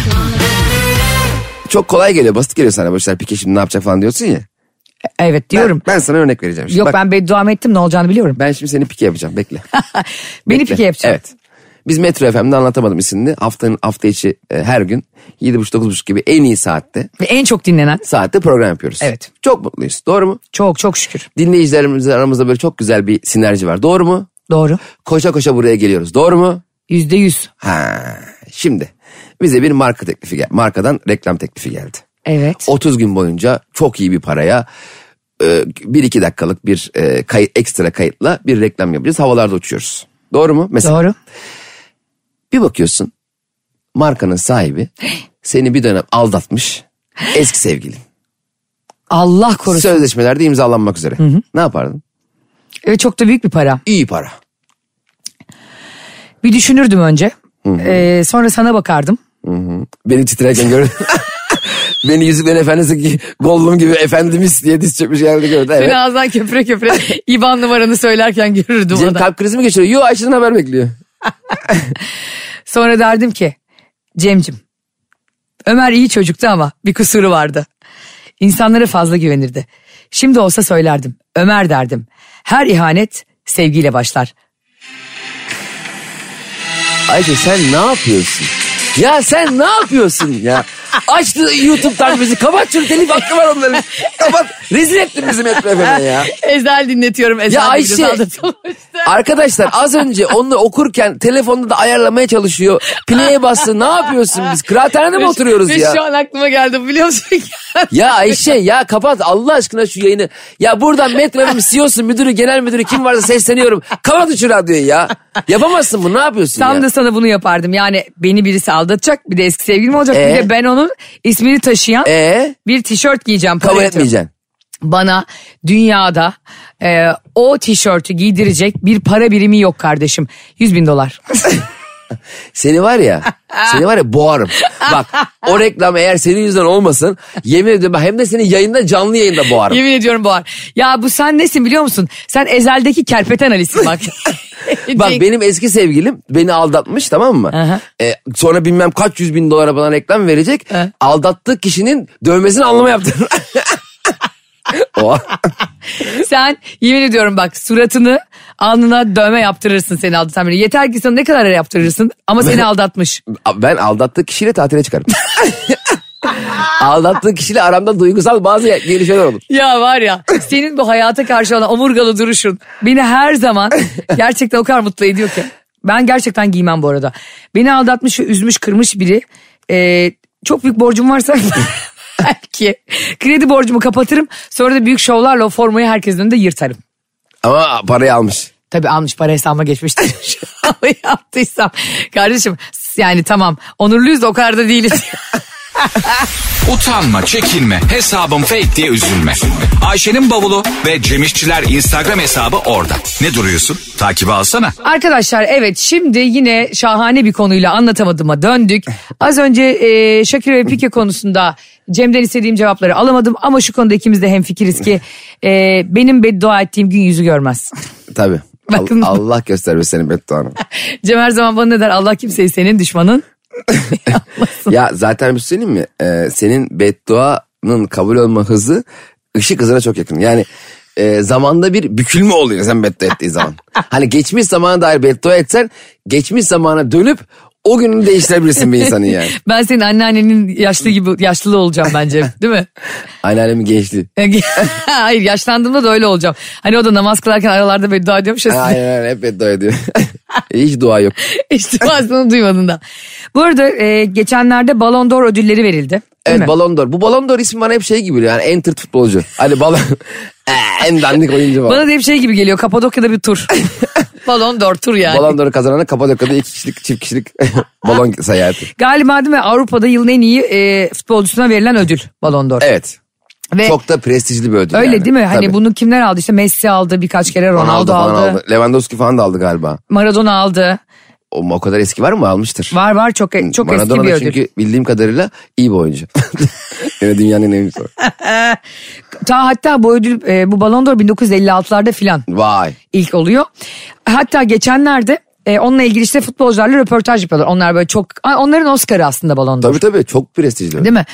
S3: Çok kolay geliyor basit geliyor sana bu işler. Pike şimdi ne yapacak falan diyorsun ya.
S2: Evet diyorum.
S3: Ben sana örnek vereceğim. Şimdi
S2: Yok
S3: bak,
S2: ben bedduam ettim ne olacağını biliyorum.
S3: ben şimdi seni pike yapacağım bekle.
S2: Beni
S3: Bekle.
S2: pike yapacak.
S3: Evet. Biz Metro FM'de anlatamadım isimli haftanın hafta içi e, her gün 7.30-9.30 gibi en iyi saatte
S2: Ve en çok dinlenen
S3: saatte program yapıyoruz.
S2: Evet.
S3: Çok mutluyuz doğru mu?
S2: çok çok şükür.
S3: Dinleyicilerimizle aramızda böyle çok güzel bir sinerji var doğru mu?
S2: Doğru.
S3: Koşa koşa buraya geliyoruz doğru mu?
S2: Yüzde yüz.
S3: Ha, şimdi bize bir marka teklifi gel markadan reklam teklifi geldi.
S2: Evet.
S3: 30 gün boyunca çok iyi bir paraya e, bir iki dakikalık bir e, kayıt, ekstra kayıtla bir reklam yapacağız. Havalarda uçuyoruz. Doğru mu? Mesela
S2: Doğru.
S3: Bir bakıyorsun markanın sahibi seni bir dönem aldatmış eski sevgilin.
S2: Allah korusun.
S3: Sözleşmelerde imzalanmak üzere. Ne yapardın?
S2: Evet çok da büyük bir para.
S3: İyi para.
S2: Bir düşünürdüm önce. Ee, sonra sana bakardım.
S3: Beni titrerken gördün. Beni Yüzüklerin Efendisi gibi Gollum gibi efendimiz diye diz çökmüş yerde gördü. Evet.
S2: Seni ağzından köpüre köpüre İban numaranı söylerken görürdüm
S3: Cem
S2: onu.
S3: kalp krizi mi geçiriyor? Yo Ayşe'den haber bekliyor.
S2: Sonra derdim ki Cemcim Ömer iyi çocuktu ama bir kusuru vardı. İnsanlara fazla güvenirdi. Şimdi olsa söylerdim. Ömer derdim. Her ihanet sevgiyle başlar.
S3: Ayşe sen ne yapıyorsun? Ya sen ne yapıyorsun ya? Açtı YouTube'dan bizi. Kapat şunu telif hakkı var onların. Kapat. Rezil ettin bizim Metro FM'e ya.
S2: Ezel dinletiyorum. Ezel
S3: Ya Ayşe.
S2: biraz aldatılmıştı.
S3: Arkadaşlar az önce onu okurken telefonda da ayarlamaya çalışıyor. Play'e bastı. Ne yapıyorsun biz? Kıraathanede mi oturuyoruz
S2: Ve şu
S3: ya?
S2: an aklıma geldi biliyor musun?
S3: Ya Ayşe ya kapat Allah aşkına şu yayını. Ya buradan Metro FM CEO'su E müdürü genel müdürü kim varsa sesleniyorum. Kapat şu radyoyu ya. Yapamazsın bunu ne yapıyorsun ya?
S2: Tam da sana bunu yapardım. Yani beni birisi aldatacak bir de eski sevgilim olacak bir
S3: Ee?
S2: de ben onun ismini taşıyan
S3: Ee?
S2: bir tişört giyeceğim. para
S3: Kabul
S2: yatırıp.
S3: etmeyeceksin.
S2: Bana dünyada e, o tişörtü giydirecek bir para birimi yok kardeşim. 100 bin dolar.
S3: Seni var ya, seni var ya boğarım. Bak o reklam eğer senin yüzünden olmasın yemin ediyorum ben hem de seni yayında canlı yayında boğarım.
S2: Yemin ediyorum Boğar. Ya bu sen nesin biliyor musun? Sen ezeldeki kerpeten Ali'sin bak.
S3: Bak benim eski sevgilim beni aldatmış tamam mı?
S2: Aha.
S3: Ee, sonra bilmem kaç yüz bin dolara bana reklam verecek.
S2: Hı.
S3: Aldattığı kişinin dövmesini anlama yaptı. o,
S2: Sen yemin ediyorum bak suratını alnına dövme yaptırırsın seni aldatan biri. Yeter ki sana ne kadar yaptırırsın ama seni aldatmış.
S3: ben aldattığı kişiyle tatile çıkarım. aldattığı kişiyle aramda duygusal bazı gelişmeler olur.
S2: Ya var ya senin bu hayata karşı olan omurgalı duruşun beni her zaman gerçekten o kadar mutlu ediyor ki. Ben gerçekten giymem bu arada. Beni aldatmış ve üzmüş kırmış biri. Ee, çok büyük borcum varsa belki kredi borcumu kapatırım. Sonra da büyük şovlarla o formayı herkesin önünde yırtarım.
S3: Ama parayı almış.
S2: Tabii almış para hesabıma geçmiştir. Şu an yaptıysam. Kardeşim yani tamam onurluyuz da o kadar da değiliz.
S1: Utanma, çekinme, hesabım fake diye üzülme. Ayşe'nin bavulu ve Cemişçiler Instagram hesabı orada. Ne duruyorsun? Takibi alsana.
S2: Arkadaşlar evet şimdi yine şahane bir konuyla anlatamadığıma döndük. Az önce e, Shakira ve Pique konusunda Cem'den istediğim cevapları alamadım ama şu konuda ikimiz de hemfikiriz ki e, benim beddua ettiğim gün yüzü görmez.
S3: Tabii. Al-
S2: Bakın.
S3: Allah göstermesin senin bedduanı.
S2: Cem her zaman bana ne der Allah kimseyi senin düşmanın.
S3: Ya zaten bir şey söyleyeyim mi? Ee, senin bedduanın kabul olma hızı ışık hızına çok yakın. Yani e, zamanda bir bükülme oluyor sen beddua ettiğin zaman. hani geçmiş zamana dair beddua etsen geçmiş zamana dönüp o gününü değiştirebilirsin bir insanın yani.
S2: Ben senin anneannenin yaşlı gibi yaşlılı olacağım bence değil mi?
S3: Anneannemin gençliği.
S2: Hayır yaşlandığımda da öyle olacağım. Hani o da namaz kılarken aralarda beddua ediyormuş ya size.
S3: Aynen aynen hep beddua ediyor. Hiç dua yok.
S2: İşte aslında duymadın da. Bu arada e, geçenlerde Ballon d'Or ödülleri verildi. Değil mi?
S3: Evet Ballon d'Or. Bu Ballon d'Or ismi bana hep şey gibi geliyor. Yani en tırt futbolcu. Hani balon... en dandik oyuncu falan.
S2: Bana da hep şey gibi geliyor Kapadokya'da bir tur. Balon d'Or tur yani.
S3: Ballon d'Or'u kazanana Kapadokya'da iki kişilik çift kişilik balon seyahati.
S2: Galiba değil mi Avrupa'da yılın en iyi e, futbolcusuna verilen ödül Balon d'Or.
S3: Evet.
S2: Ve
S3: Çok da prestijli bir ödül
S2: öyle
S3: yani.
S2: değil mi? Hani
S3: Tabii.
S2: bunu kimler aldı? İşte Messi aldı birkaç kere Ronaldo,
S3: falan
S2: aldı.
S3: Lewandowski falan da aldı galiba.
S2: Maradona aldı.
S3: O, o kadar eski var mı? Almıştır.
S2: Var var çok çok
S3: Maradona
S2: eski bir
S3: da
S2: ödül.
S3: çünkü bildiğim kadarıyla iyi bir oyuncu. yani dünyanın en iyi oyuncusu.
S2: Ta hatta bu ödül e, bu Balon d'Or 1956'larda filan
S3: Vay.
S2: ilk oluyor. Hatta geçenlerde e, onunla ilgili işte futbolcularla röportaj yapıyorlar. Onlar böyle çok Ay, onların Oscar'ı aslında Balon d'Or.
S3: Tabii tabii çok prestijli.
S2: Değil mi?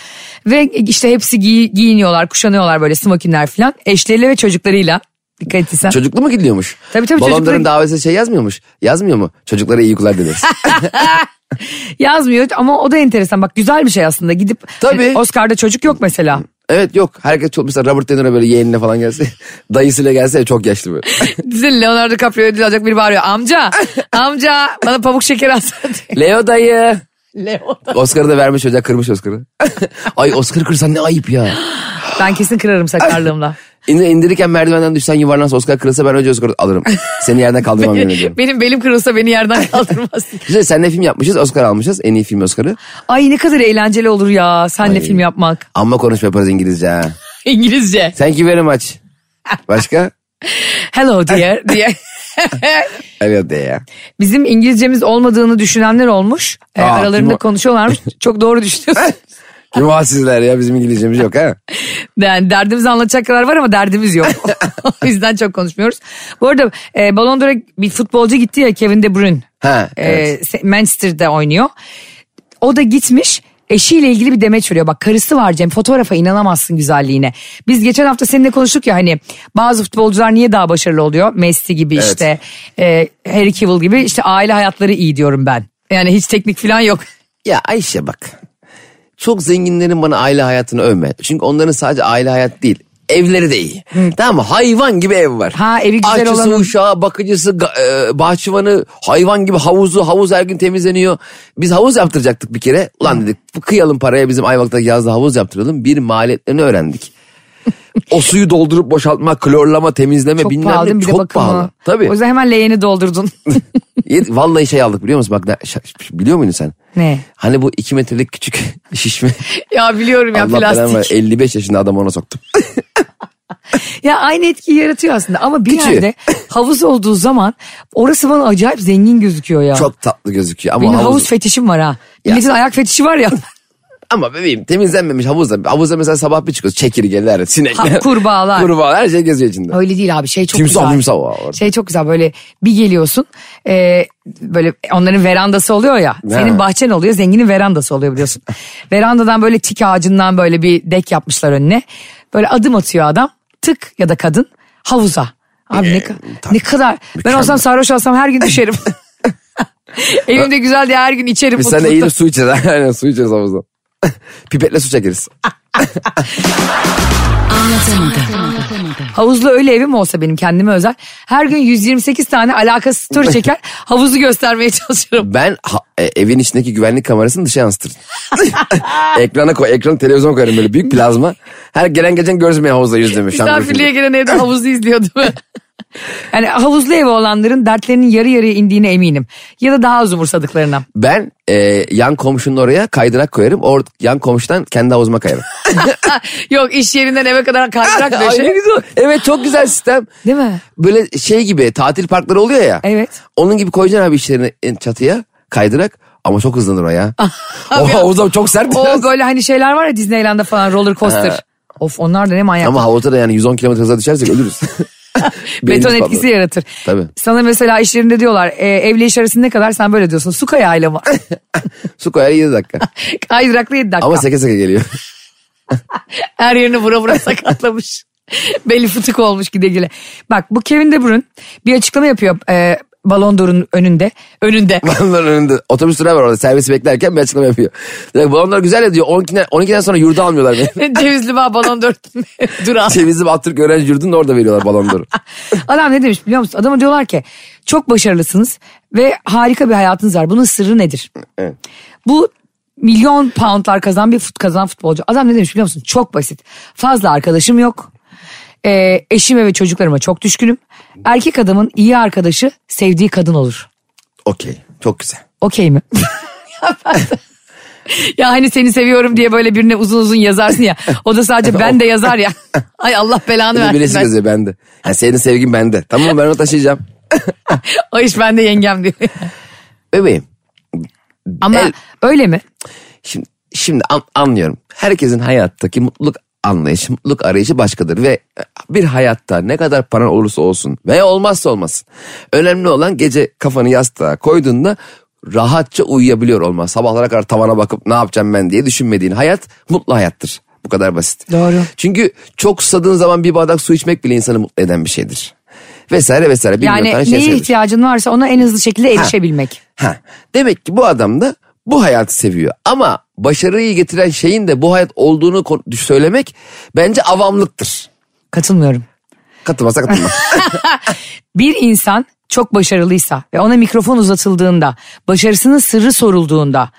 S2: Ve işte hepsi giy- giyiniyorlar, kuşanıyorlar böyle smokinler falan. Eşleriyle ve çocuklarıyla. Dikkat etsen.
S3: Çocuklu mu gidiyormuş?
S2: Tabii, tabii,
S3: Balonların
S2: çocukları-
S3: davetiyesi şey yazmıyormuş. Yazmıyor mu? Çocuklara iyi okullar dileriz.
S2: Yazmıyor ama o da enteresan. Bak güzel bir şey aslında. Gidip
S3: Tabii.
S2: hani Oscar'da çocuk yok mesela.
S3: evet yok. Herkes çok mesela Robert De Niro böyle yeğenine falan gelse. dayısıyla gelse çok yaşlı böyle.
S2: Dizin Leonardo DiCaprio ödül alacak biri bağırıyor. Amca, amca bana pamuk şeker alsana diye.
S3: Leo dayı.
S2: Leo da-
S3: Oscar'ı da vermiş hoca kırmış Oscar'ı. Ay Oscar'ı kırsan ne ayıp ya.
S2: Ben kesin kırarım sakarlığımla.
S3: İndir, indirirken merdivenden düşsen yuvarlansa Oscar kırılsa ben önce Oscar alırım. Seni yerden kaldırmam yemin ediyorum.
S2: Benim belim kırılsa beni yerden kaldırmaz.
S3: Güzel senle film yapmışız Oscar almışız. En iyi film Oscar'ı.
S2: Ay ne kadar eğlenceli olur ya senle
S3: Ay.
S2: film yapmak.
S3: Amma konuşma yaparız İngilizce ha.
S2: İngilizce.
S3: Thank you very much. Başka?
S2: Hello dear diye.
S3: Evet de ya.
S2: Bizim İngilizcemiz olmadığını düşünenler olmuş. E,
S3: Aa,
S2: aralarında
S3: kim o?
S2: konuşuyorlarmış. Çok doğru düşünüyorsun.
S3: Kim o sizler ya bizim İngilizcemiz yok ha.
S2: Yani derdimizi anlatacak kadar var ama derdimiz yok. o yüzden çok konuşmuyoruz. Bu arada e, Ballon d'Or'a bir futbolcu gitti ya Kevin De Bruyne.
S3: Ha,
S2: E,
S3: evet.
S2: Se- Manchester'da oynuyor. O da gitmiş Eşiyle ilgili bir demeç veriyor. Bak karısı var Cem fotoğrafa inanamazsın güzelliğine. Biz geçen hafta seninle konuştuk ya hani bazı futbolcular niye daha başarılı oluyor? Messi gibi
S3: Evet.
S2: işte e, Harry Cavill gibi işte aile hayatları iyi diyorum ben. Yani hiç teknik falan yok.
S3: Ya Ayşe bak. Çok zenginlerin bana aile hayatını övme. Çünkü onların sadece aile hayat değil. Evleri de iyi. Tamam mı? Hayvan gibi ev var.
S2: Ha, evi güzel
S3: Aşçısı,
S2: olanın-
S3: uşağı, bakıcısı, ga- e, bahçıvanı, hayvan gibi havuzu, havuz her gün temizleniyor. Biz havuz yaptıracaktık bir kere. Ulan dedik bu kıyalım paraya bizim Ayvalık'taki yazda havuz yaptıralım. Bir maliyetlerini öğrendik. o suyu doldurup boşaltma, klorlama, temizleme
S2: Çok
S3: bilmem
S2: pahalı değil
S3: ne
S2: mi? Bir de
S3: çok
S2: bakımı.
S3: pahalı. Tabii.
S2: O yüzden hemen leğeni doldurdun.
S3: Yet- Vallahi şey aldık biliyor musun? Bak ne- şa- biliyor muydun sen?
S2: Ne?
S3: Hani bu iki metrelik küçük şişme.
S2: ya biliyorum ya
S3: Allah belanı ver.
S2: plastik.
S3: 55 yaşında adam ona soktum.
S2: Ya aynı etkiyi yaratıyor aslında ama bir
S3: Küçüğü.
S2: yerde havuz olduğu zaman orası bana acayip zengin gözüküyor ya.
S3: Çok tatlı gözüküyor ama
S2: Benim
S3: havuz,
S2: havuz, fetişim var ha.
S3: Ya.
S2: Milletin ayak fetişi var ya.
S3: ama bebeğim temizlenmemiş havuzda. Havuzda mesela sabah bir çıkıyoruz. Çekirgeler, sinekler.
S2: Ha, kurbağalar.
S3: Kurbağalar her şey geziyor içinde.
S2: Öyle değil abi şey çok
S3: Timsah,
S2: güzel.
S3: mimsah var orada.
S2: Şey çok güzel böyle bir geliyorsun e, böyle onların verandası oluyor ya. Senin bahçen oluyor zenginin verandası oluyor biliyorsun. Verandadan böyle tik ağacından böyle bir dek yapmışlar önüne. Böyle adım atıyor adam tık ya da kadın havuza. Abi ne, ka- ne kadar ben olsam sarhoş olsam her gün düşerim. Evimde güzel diye her gün içerim.
S3: Biz sen
S2: mutlulukla.
S3: eğilip su içeriz. Aynen su içeriz havuzda. Pipetle su çekeriz.
S2: Havuzlu öyle evim olsa benim kendime özel. Her gün 128 tane alakasız story çeker havuzu göstermeye çalışırım.
S3: Ben ha- e, evin içindeki güvenlik kamerasını dışa yansıtırdım. Ekrana koy, ekranı televizyon koyarım böyle büyük plazma. Her gelen geçen görsün beni havuzda yüzdüğümü. şu an
S2: Misafirliğe
S3: görüşürüz.
S2: gelen evde havuzu izliyordu. yani havuzlu ev olanların dertlerinin yarı yarıya indiğine eminim. Ya da daha az umursadıklarına.
S3: Ben e, yan komşunun oraya kaydırak koyarım. Or, yan komşudan kendi havuzuma kayarım.
S2: Yok iş yerinden eve kadar kaydırak
S3: Ay, ne
S2: döşe.
S3: güzel. Evet çok güzel sistem.
S2: Değil mi?
S3: Böyle şey gibi tatil parkları oluyor ya.
S2: Evet.
S3: Onun gibi koyacaksın abi işlerini en çatıya kaydırak ama çok hızlanır o ya. o havuzda çok sert.
S2: O
S3: biraz.
S2: böyle hani şeyler var ya Disneyland'da falan roller coaster. of onlar da ne manyak.
S3: Ama havuzda da yani 110 kilometre hıza düşersek ölürüz. Beynimiz
S2: Beton
S3: patlar.
S2: etkisi yaratır.
S3: Tabii.
S2: Sana mesela işlerinde diyorlar e, evle iş arası ne kadar sen böyle diyorsun. Su kayağıyla mı?
S3: Su koyar 7 dakika.
S2: Kaydırakla 7 dakika.
S3: Ama seke seke geliyor.
S2: Her yerini vura vura sakatlamış. Belli fıtık olmuş gide gide. Bak bu Kevin De Bruyne bir açıklama yapıyor e, Ballon d'Or'un önünde. Önünde.
S3: Onların önünde otobüs durağı var orada servisi beklerken bir açıklama yapıyor. Diyor, bu onlar güzel ya diyor 12'den, 12'den sonra yurda almıyorlar beni.
S2: Cevizli Bağ Ballon d'Or durağı.
S3: Cevizli Bahtürk öğrenci yurdunda orada veriyorlar balonları.
S2: Adam ne demiş biliyor musun? Adama diyorlar ki çok başarılısınız ve harika bir hayatınız var. Bunun sırrı nedir? Bu milyon poundlar kazan bir fut kazan futbolcu. Adam ne demiş biliyor musun? Çok basit. Fazla arkadaşım yok. E, eşime ve çocuklarıma çok düşkünüm. Erkek adamın iyi arkadaşı sevdiği kadın olur.
S3: Okey çok güzel.
S2: okey mi? Ya ben- ya hani seni seviyorum diye böyle birine uzun uzun yazarsın ya. O da sadece ben de yazar ya. Ay Allah belanı
S3: Bir de
S2: versin.
S3: birisi
S2: Ben,
S3: yazıyor bende. Yani senin sevgin bende. Tamam mı ben onu taşıyacağım.
S2: o iş bende yengem diyor.
S3: Bebeğim
S2: Ama
S3: El-
S2: öyle mi?
S3: Şimdi, şimdi an- anlıyorum. Herkesin hayattaki mutluluk anlayışı, mutluluk arayışı başkadır. Ve bir hayatta ne kadar paran olursa olsun veya olmazsa olmasın. Önemli olan gece kafanı yastığa koyduğunda rahatça uyuyabiliyor olman. Sabahlara kadar tavana bakıp ne yapacağım ben diye düşünmediğin hayat mutlu hayattır. Bu kadar basit.
S2: Doğru.
S3: Çünkü çok susadığın zaman bir bardak su içmek bile insanı mutlu eden bir şeydir. Vesaire vesaire. bir milyon
S2: Yani
S3: tane
S2: neye
S3: şey sayılır.
S2: ihtiyacın varsa ona en hızlı şekilde erişebilmek.
S3: Ha, demek ki bu adam da bu hayatı seviyor. Ama başarıyı getiren şeyin de bu hayat olduğunu kon- söylemek bence avamlıktır.
S2: Katılmıyorum.
S3: Katılmasa katılma.
S2: Bir insan çok başarılıysa ve ona mikrofon uzatıldığında, başarısının sırrı sorulduğunda,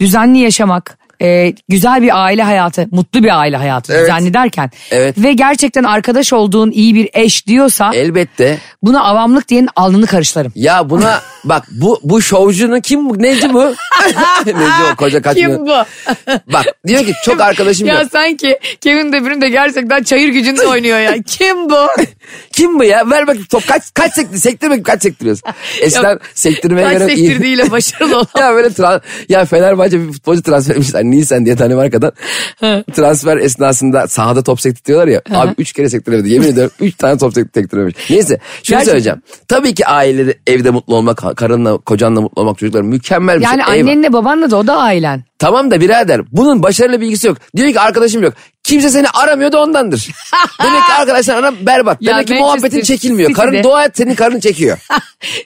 S2: düzenli yaşamak, e, güzel bir aile hayatı, mutlu bir aile hayatı
S3: Evet.
S2: düzenli derken
S3: Evet.
S2: ve gerçekten arkadaş olduğun iyi bir eş diyorsa
S3: Elbette.
S2: buna avamlık diyenin alnını karışlarım.
S3: Ya buna bak bu bu şovcunun kim bu? Neci bu? Neci o koca kaçmıyor. Bak diyor ki çok arkadaşım
S2: ya
S3: yok.
S2: sanki Kevin De Bruyne de gerçekten çayır gücünde oynuyor ya. Kim bu?
S3: Kim bu ya? Ver bakayım top kaç kaç sektir sektirme kaç sektiriyorsun? Eskiden sektirmeye
S2: Kaç
S3: göre
S2: sektirdiğiyle başarılı olan.
S3: ya böyle tra- ya Fenerbahçe bir futbolcu transfer etmişler. Nisan diye Danimarka'dan. transfer esnasında sahada top sektiriyorlar ya. abi üç kere sektiremedi. Yemin ediyorum üç tane top sektirememiş. Neyse şunu
S2: Gerçekten.
S3: söyleyeceğim. Tabii ki ailede evde mutlu olmak, ha- karınla kocanla mutlu olmak çocuklar mükemmel bir
S2: Yani
S3: şey. Eyvah.
S2: annenle babanla da o da ailen.
S3: Tamam da birader bunun başarıyla bir ilgisi yok. Diyor ki arkadaşım yok. Kimse seni aramıyor da ondandır. Demek ki arkadaşlar aram berbat.
S2: Ya
S3: Demek ki
S2: Manchester
S3: muhabbetin çekilmiyor.
S2: City'de-
S3: Karın dua et senin karın çekiyor.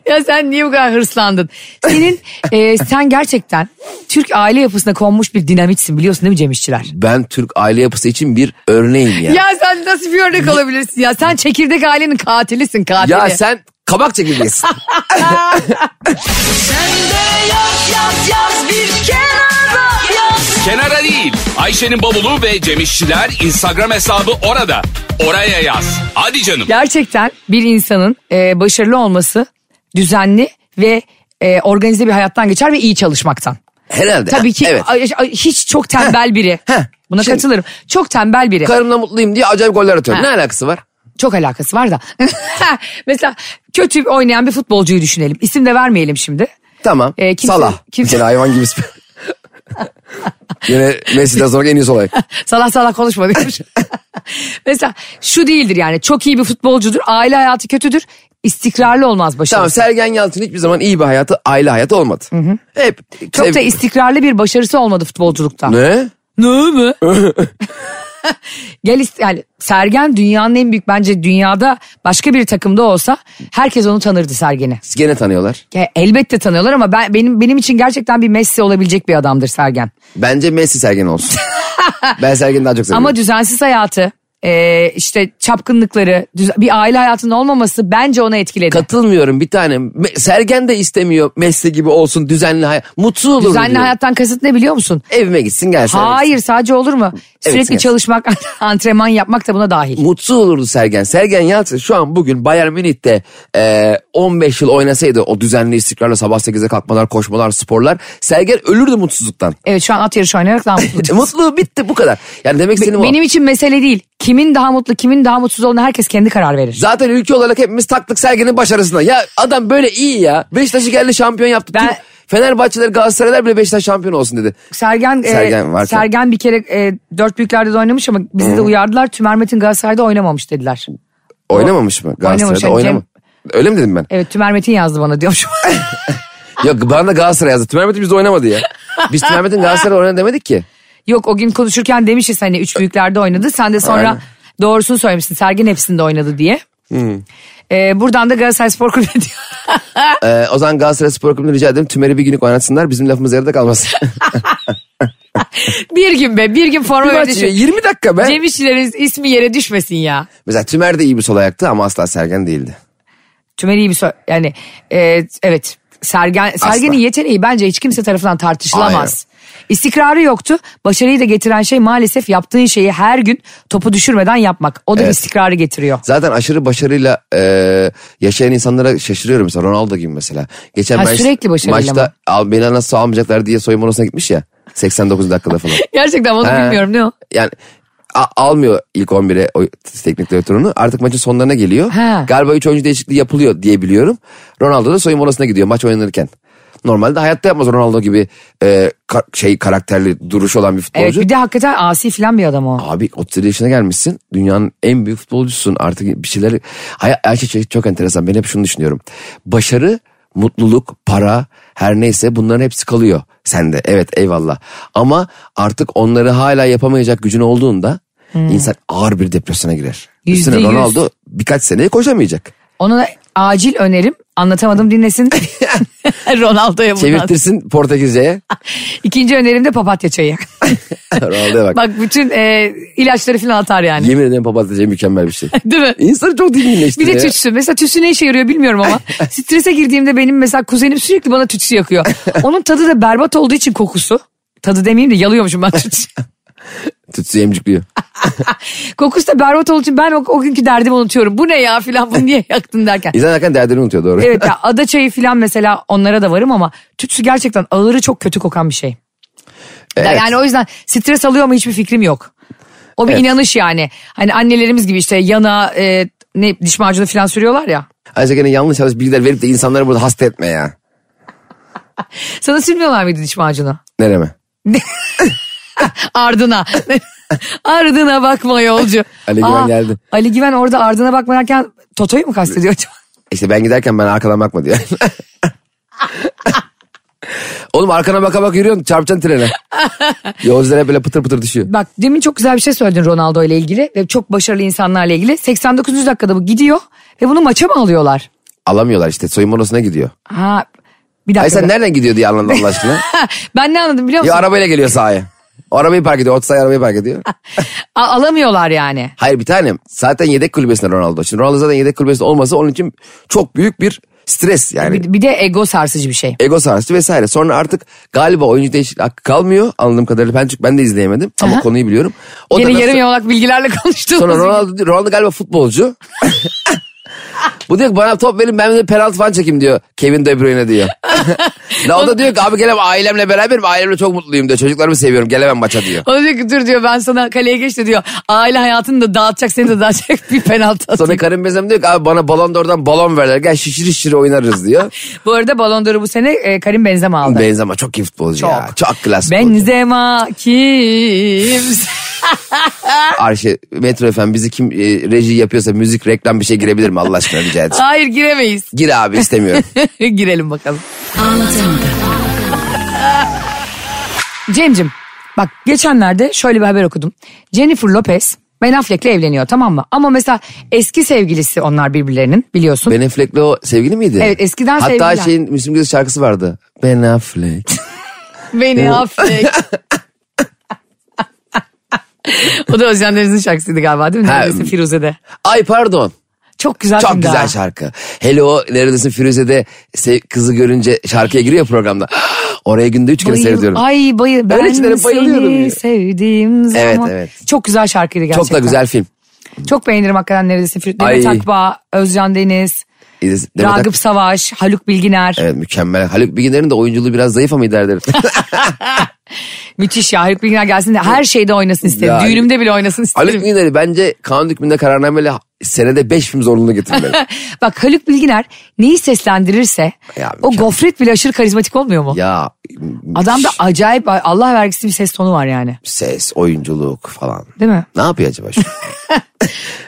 S2: ya sen niye bu kadar hırslandın? Senin e, sen gerçekten Türk aile yapısına konmuş bir dinamitsin biliyorsun değil mi Cem İşçiler?
S3: ben Türk aile yapısı için bir örneğim ya. Ya,
S2: Ya sen nasıl bir örnek olabilirsin ya? Sen çekirdek ailenin katilisin katili.
S3: sen kabak çekirdeğisin.
S1: Kenara değil. Ayşe'nin bavulu ve Cemişçiler Instagram hesabı orada. Oraya yaz. Hadi canım.
S2: Gerçekten bir insanın e, başarılı olması düzenli ve e, organize bir hayattan geçer ve iyi çalışmaktan.
S3: Herhalde.
S2: Tabii ki
S3: E, Evet.
S2: ay- ay- hiç çok tembel biri.
S3: heh.
S2: Buna
S3: Şimdi-
S2: katılırım. Çok tembel biri.
S3: Karımla mutluyum diye acayip goller atıyorum.
S2: Ha.
S3: Ne alakası var?
S2: Çok alakası var da. Mesela kötü oynayan bir futbolcuyu düşünelim. İsim de vermeyelim şimdi.
S3: Tamam.
S2: Ee, kimse-
S3: Salah.
S2: kimse-
S3: Gene hayvan gibi. Yine Messi'den sonra en iyi olay.
S2: Salah salah konuşma diyor. Mesela şu değildir yani çok iyi bir futbolcudur. Aile hayatı kötüdür. İstikrarlı olmaz
S3: Tamam
S2: başarısı.
S3: Sergen Yalçın hiçbir zaman iyi bir hayatı, aile hayatı olmadı. Hep
S2: çok
S3: sev-
S2: da istikrarlı bir başarısı olmadı futbolculukta.
S3: Ne?
S2: Ne mi? Gel ist- yani Sergen dünyanın en büyük bence dünyada başka bir takımda olsa herkes onu tanırdı Sergen'i.
S3: Gene tanıyorlar.
S2: Ya elbette tanıyorlar ama ben benim benim için gerçekten bir Messi olabilecek bir adamdır Sergen.
S3: Bence Messi Sergen olsun. ben Sergen'i daha çok seviyorum.
S2: Ama düzensiz hayatı, e, işte çapkınlıkları, düz- bir aile hayatının olmaması bence ona etkiledi.
S3: Katılmıyorum bir tane. Me- Sergen de istemiyor Messi gibi olsun düzenli hayat. Mutsuz olur mu
S2: Düzenli
S3: diyor.
S2: hayattan kasıt ne biliyor musun?
S3: Evime gitsin gelsin.
S2: Hayır sadece olur mu? Sürekli
S3: yes.
S2: çalışmak, antrenman yapmak da buna dahil.
S3: Mutsuz olurdu Sergen. Sergen Yalçın şu an bugün Bayern Münih'te e, 15 yıl oynasaydı o düzenli istikrarla sabah 8'e kalkmalar, koşmalar, sporlar. Sergen ölürdü mutsuzluktan.
S2: Evet şu an at yarışı oynayarak daha mutlu.
S3: E, Mutlu bitti bu kadar. Yani demek istediğim o.
S2: Benim için mesele değil. Kimin daha mutlu, kimin daha mutsuz olduğuna herkes kendi karar verir.
S3: Zaten ülke olarak hepimiz taktık Sergen'in başarısına. Ya adam böyle iyi ya. Beşiktaş'ı geldi şampiyon yaptı.
S2: Ben-
S3: Tüm Fenerbahçeler, Galatasaraylar bile Beşiktaş şampiyon olsun dedi.
S2: Sergen e,
S3: Sergen
S2: Sergen,
S3: varken.
S2: bir kere e, dört büyüklerde de oynamış ama bizi de uyardılar. Tümer Metin Galatasaray'da oynamamış dediler.
S3: Oynamamış mı? Galatasaray'da
S2: Oynamış,
S3: oynama.
S2: yani
S3: Öyle mi dedim ben?
S2: Evet Tümer Metin yazdı bana diyormuş.
S3: Yok bana da Galatasaray yazdı. Tümer Metin bizde oynamadı ya. Biz Tümer Metin Galatasaray'da oynadı demedik ki.
S2: Yok o gün konuşurken demişiz hani üç büyüklerde oynadı. Sen de sonra
S3: Aynen. Hmm.
S2: doğrusunu söylemişsin. Sergen hepsinde oynadı diye. E, buradan da Galatasaray Spor Kulübü diyor.
S3: Ee, o zaman Galatasaray Spor Kulübü'nü rica ederim. Tümer'i bir günlük oynatsınlar. Bizim lafımız yarıda kalmasın.
S2: bir gün be bir gün forma
S3: Bir
S2: ver
S3: maç
S2: düşün.
S3: 20 dakika be.
S2: Cem İşçilerin ismi yere düşmesin ya.
S3: Mesela Tümer de iyi bir sol ayaktı ama asla Sergen değildi.
S2: Tümer iyi bir so- yani e, evet Sergen Sergen'in yeteneği bence hiç kimse tarafından tartışılamaz. İstikrarı yoktu. Başarıyı da getiren şey maalesef yaptığın şeyi her gün topu düşürmeden yapmak. O da bir
S3: Evet.
S2: istikrarı getiriyor.
S3: Zaten aşırı başarıyla e, yaşayan insanlara şaşırıyorum. Mesela Ronaldo gibi mesela. Geçen
S2: Ha,
S3: maç-
S2: sürekli başarıyla mı?
S3: maçta al, beni nasıl almayacaklar diye soyunma odasına gitmiş ya. 89 dakikada falan.
S2: Gerçekten onu
S3: Ha.
S2: bilmiyorum ne o?
S3: Yani a- almıyor ilk 11'e o teknik direktörünü. Artık maçın sonlarına geliyor.
S2: Ha.
S3: Galiba 3 oyuncu değişikliği yapılıyor diye biliyorum. Ronaldo da soyunma odasına gidiyor maç oynanırken. Normalde hayatta yapmaz Ronaldo gibi e, ka- şey karakterli duruşu olan bir
S2: Evet
S3: futbolcu.
S2: bir de hakikaten asi filan bir adam o.
S3: Abi 37 yaşına gelmişsin. Dünyanın en büyük futbolcusun. Artık bir şeyler... Hay- Ayşe şey çok enteresan. Ben hep şunu düşünüyorum. Başarı, mutluluk, para her neyse bunların hepsi kalıyor sende. Evet eyvallah. Ama artık onları hala yapamayacak gücün olduğunda insan ağır bir depresyona girer.
S2: Hmm. Yüzde
S3: Üstüne
S2: yüz.
S3: Ronaldo birkaç seneye koşamayacak.
S2: Ona acil önerim anlatamadım dinlesin. Ronaldo'ya bundan.
S3: Çevirtirsin Portekizce'ye.
S2: İkinci önerim de papatya çayı.
S3: Ronaldo'ya bak.
S2: Bak bütün e, ilaçları filan atar yani.
S3: Yemin ederim papatya mükemmel bir şey.
S2: Değil mi?
S3: İnsanı çok dinginleştiriyor.
S2: Bir de
S3: ya.
S2: tütsü. Mesela tütsü ne işe yarıyor bilmiyorum ama. Strese girdiğimde benim mesela kuzenim sürekli bana tütsü yakıyor. Onun tadı da berbat olduğu için kokusu. Tadı demeyeyim de yalıyormuşum ben tütsü.
S3: Tütsü emcikliyor.
S2: kokusu da berbat olduğu için ben o, o günkü derdimi unutuyorum. Bu ne ya filan bunu niye yaktın derken.
S3: İnsan hakikaten derdini unutuyor doğru.
S2: Evet ya ada çayı filan mesela onlara da varım ama tütsü gerçekten ağırı çok kötü kokan bir şey.
S3: Evet.
S2: Yani o yüzden stres alıyor mu hiçbir fikrim yok. O bir
S3: Evet.
S2: inanış yani. Hani annelerimiz gibi işte yana e, ne diş macunu filan sürüyorlar ya.
S3: Ayrıca gene yanlış yanlış bilgiler verip de insanları burada hasta etme ya.
S2: Sana sürmüyorlar mıydı diş macunu?
S3: Nereme?
S2: Ardına. ardına bakma yolcu.
S3: Ali Güven geldi.
S2: Ali Güven
S3: E
S2: orada ardına bakma derken Toto'yu mu kastediyor acaba?
S3: İşte ben giderken ben arkadan bakma diyor. Oğlum arkana baka bak yürüyorsun çarpacaksın trene. Yolcular hep böyle pıtır pıtır düşüyor.
S2: Bak demin çok güzel bir şey söyledin Ronaldo ile ilgili ve çok başarılı insanlarla ilgili. 89. dakikada bu gidiyor ve bunu maça mı alıyorlar?
S3: Alamıyorlar işte soyunma odasına gidiyor.
S2: Ha bir
S3: Ay
S2: dakika.
S3: sen nereden gidiyor diye anladın Allah aşkına.
S2: ben ne anladım biliyor
S3: ya
S2: musun?
S3: arabayla geliyor sahaya. O arabayı park ediyor. Otsay arabayı park ediyor.
S2: A- alamıyorlar yani.
S3: Hayır bir tanem. Zaten yedek kulübesinde Ronaldo. Şimdi Ronaldo zaten yedek kulübesinde olması onun için çok büyük bir stres yani.
S2: Bir, bir de ego sarsıcı bir şey.
S3: Ego sarsıcı vesaire. Sonra artık galiba oyuncu değişikliği hakkı kalmıyor. Anladığım kadarıyla ben, çünkü ben de izleyemedim. Ama
S2: Aha.
S3: konuyu biliyorum. O
S2: Yine
S3: da-
S2: yarım yamalak bilgilerle konuştuğumuz
S3: Sonra
S2: gibi.
S3: Ronaldo, Ronaldo galiba futbolcu. Bu diyor ki bana top verin ben de penaltı falan çekeyim diyor. Kevin De Bruyne diyor. Ronaldo da diyor ki abi gelemem ailemle beraberim ailemle çok mutluyum diyor. Çocuklarımı seviyorum gelemem maça diyor.
S2: O diyor ki dur diyor ben sana kaleye geç de diyor. Aile hayatını da dağıtacak seni de dağıtacak bir penaltı atayım.
S3: Sonra Karim Benzema diyor ki abi bana balon oradan balon verler. Gel şişir şişir oynarız diyor.
S2: Bu arada Ballon d'Or'u bu sene e, Karim Benzema aldı.
S3: Benzema çok iyi futbolcu ya. Çok klas futbolcu.
S2: Benzema kimse.
S3: Arşe, Metro FM bizi kim e, reji yapıyorsa müzik reklam bir şey girebilir mi Allah aşkına rica et.
S2: Hayır giremeyiz.
S3: Gir abi istemiyorum.
S2: Girelim bakalım. Cem'cim bak geçenlerde şöyle bir haber okudum. Jennifer Lopez Ben Affleck'le evleniyor tamam mı? Ama mesela eski sevgilisi onlar birbirlerinin biliyorsun.
S3: Ben Affleck'le o sevgili miydi?
S2: Evet, eskiden
S3: Hatta
S2: sevgililer.
S3: Hatta şeyin Müslüm Gürses şarkısı vardı. Ben Affleck.
S2: Beni affet. o da Özcan Deniz'in şarkısıydı galiba değil mi?
S3: Ha,
S2: Neredesin Firuze'de.
S3: Ay pardon.
S2: Çok güzel
S3: Çok
S2: filmdi ha.
S3: güzel şarkı. Hele o neredesin Firuze'de se- kızı görünce şarkıya giriyor programda. Oraya günde üç kere
S2: Bayıl-
S3: seyrediyorum.
S2: Ay bayıl. Ben
S3: Öyle içlerim, bayılıyorum
S2: seni
S3: ya.
S2: sevdiğim zaman.
S3: Evet, evet.
S2: Çok güzel şarkıydı gerçekten.
S3: Çok da güzel film.
S2: Çok beğenirim hakikaten neredesin Firuze.
S3: Ay.
S2: Demet Akbağ, Özcan Deniz,
S3: İdris- Demet Ak-
S2: Ragıp Savaş, Haluk Bilginer.
S3: Evet mükemmel. Haluk Bilginer'in de oyunculuğu biraz zayıf ama idare ederim.
S2: Müthiş ya Haluk Bilginer gelsin de her şeyde oynasın isterim.
S3: Ya.
S2: Düğünümde bile oynasın isterim.
S3: Haluk Bilginer'i bence kanun hükmünde kararnameyle senede 5 film zorunlu getirmeli.
S2: Bak Haluk Bilginer neyi seslendirirse
S3: Ya,
S2: o
S3: mükemmel.
S2: gofret bile aşırı karizmatik olmuyor mu?
S3: ya
S2: Adamda acayip Allah vergisi bir ses tonu var yani.
S3: ses, oyunculuk falan.
S2: Değil mi?
S3: Ne yapıyor acaba şu?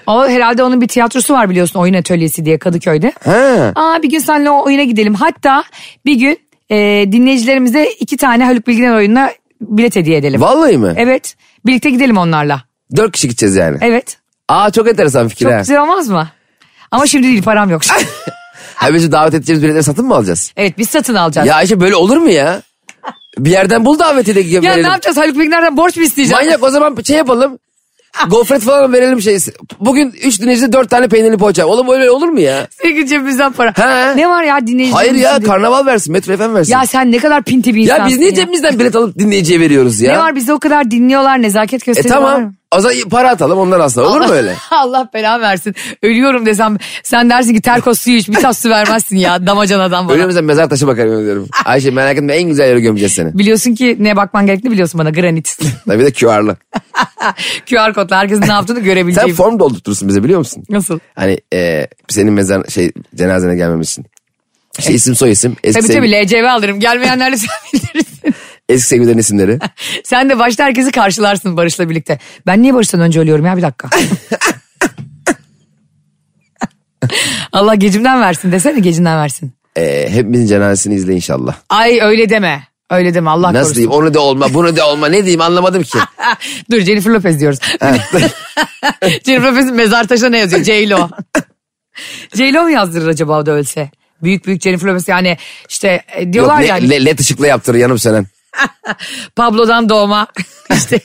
S2: O herhalde onun bir tiyatrosu var biliyorsun oyun atölyesi diye Kadıköy'de.
S3: ha.
S2: Aa bir gün seninle o oyuna gidelim. Hatta bir gün e, dinleyicilerimize iki tane Haluk Bilginer oyununa bilet hediye edelim.
S3: Vallahi mi?
S2: Evet. Birlikte gidelim onlarla.
S3: 4 kişi gideceğiz yani.
S2: Evet.
S3: Aa çok enteresan fikir
S2: Çok
S3: ha.
S2: güzel olmaz mı? Ama şimdi değil param yok.
S3: Ha, biz davet edeceğimiz biletleri satın mı alacağız?
S2: evet biz satın alacağız.
S3: Ya
S2: Ya,
S3: Ayşe böyle olur mu ya? Bir yerden bul daveti de verelim.
S2: ne yapacağız Haluk Bilginer'den borç mu isteyeceğiz?
S3: Manyak o zaman şey yapalım. Gofret falan verelim şey. Bugün 3 dinleyicide 4 tane peynirli poğaça. Oğlum öyle olur mu ya?
S2: Sevgili cebimizden para.
S3: He.
S2: Ne var ya dinleyicilerimiz?
S3: Hayır ya karnaval versin. Metro FM versin. Ya,
S2: Ya sen ne kadar pinti bir insansın.
S3: biz niye cebimizden bilet alıp dinleyiciye veriyoruz ya?
S2: Ne var bizi o kadar dinliyorlar nezaket
S3: E
S2: gösteriyorlar.
S3: tamam. O zaman para atalım ondan asla. Olur mu öyle?
S2: Allah bela versin. Ölüyorum desem sen dersin ki terkos suyu iç bir tas su vermezsin ya damacanadan bana.
S3: Önümüzden mezar taşı bakarım diyorum. Ayşe merak etme en güzel yere gömeceğiz seni.
S2: Biliyorsun ki ne bakman gerektiğini biliyorsun bana granit.
S3: Tabii de QR'lı.
S2: QR kodla herkesin ne yaptığını
S3: Sen
S2: görebileceğim.
S3: form doldurtursun bize biliyor musun?
S2: Nasıl?
S3: Hani e, senin mezar şey cenazene gelmemiz için. İşte isim soy isim. Eski,
S2: Tabii tabii
S3: sevgi-
S2: LCV alırım. Gelmeyenlerle sen bilirsin.
S3: eski sevgililerin isimleri.
S2: Sen de başta herkesi karşılarsın Barış'la birlikte. Ben niye Barış'tan önce ölüyorum ya bir dakika. Allah gecimden versin desene gecinden versin.
S3: E, hepimizin cenazesini izle inşallah.
S2: Ay öyle deme. Öyle deme Allah
S3: Nasıl
S2: korusun.
S3: diyeyim onu da olma bunu da olma ne diyeyim anlamadım ki.
S2: Dur Jennifer Lopez diyoruz. Jennifer Lopez'in mezar taşına ne yazıyor? J-Lo. J-Lo mu yazdırır acaba o da ölse? Büyük büyük Jennifer Lopez yani işte e,
S3: Yok,
S2: diyorlar
S3: le-
S2: yani
S3: le- led ışıkla yaptırır yanım senin.
S2: Pablo'dan doğma işte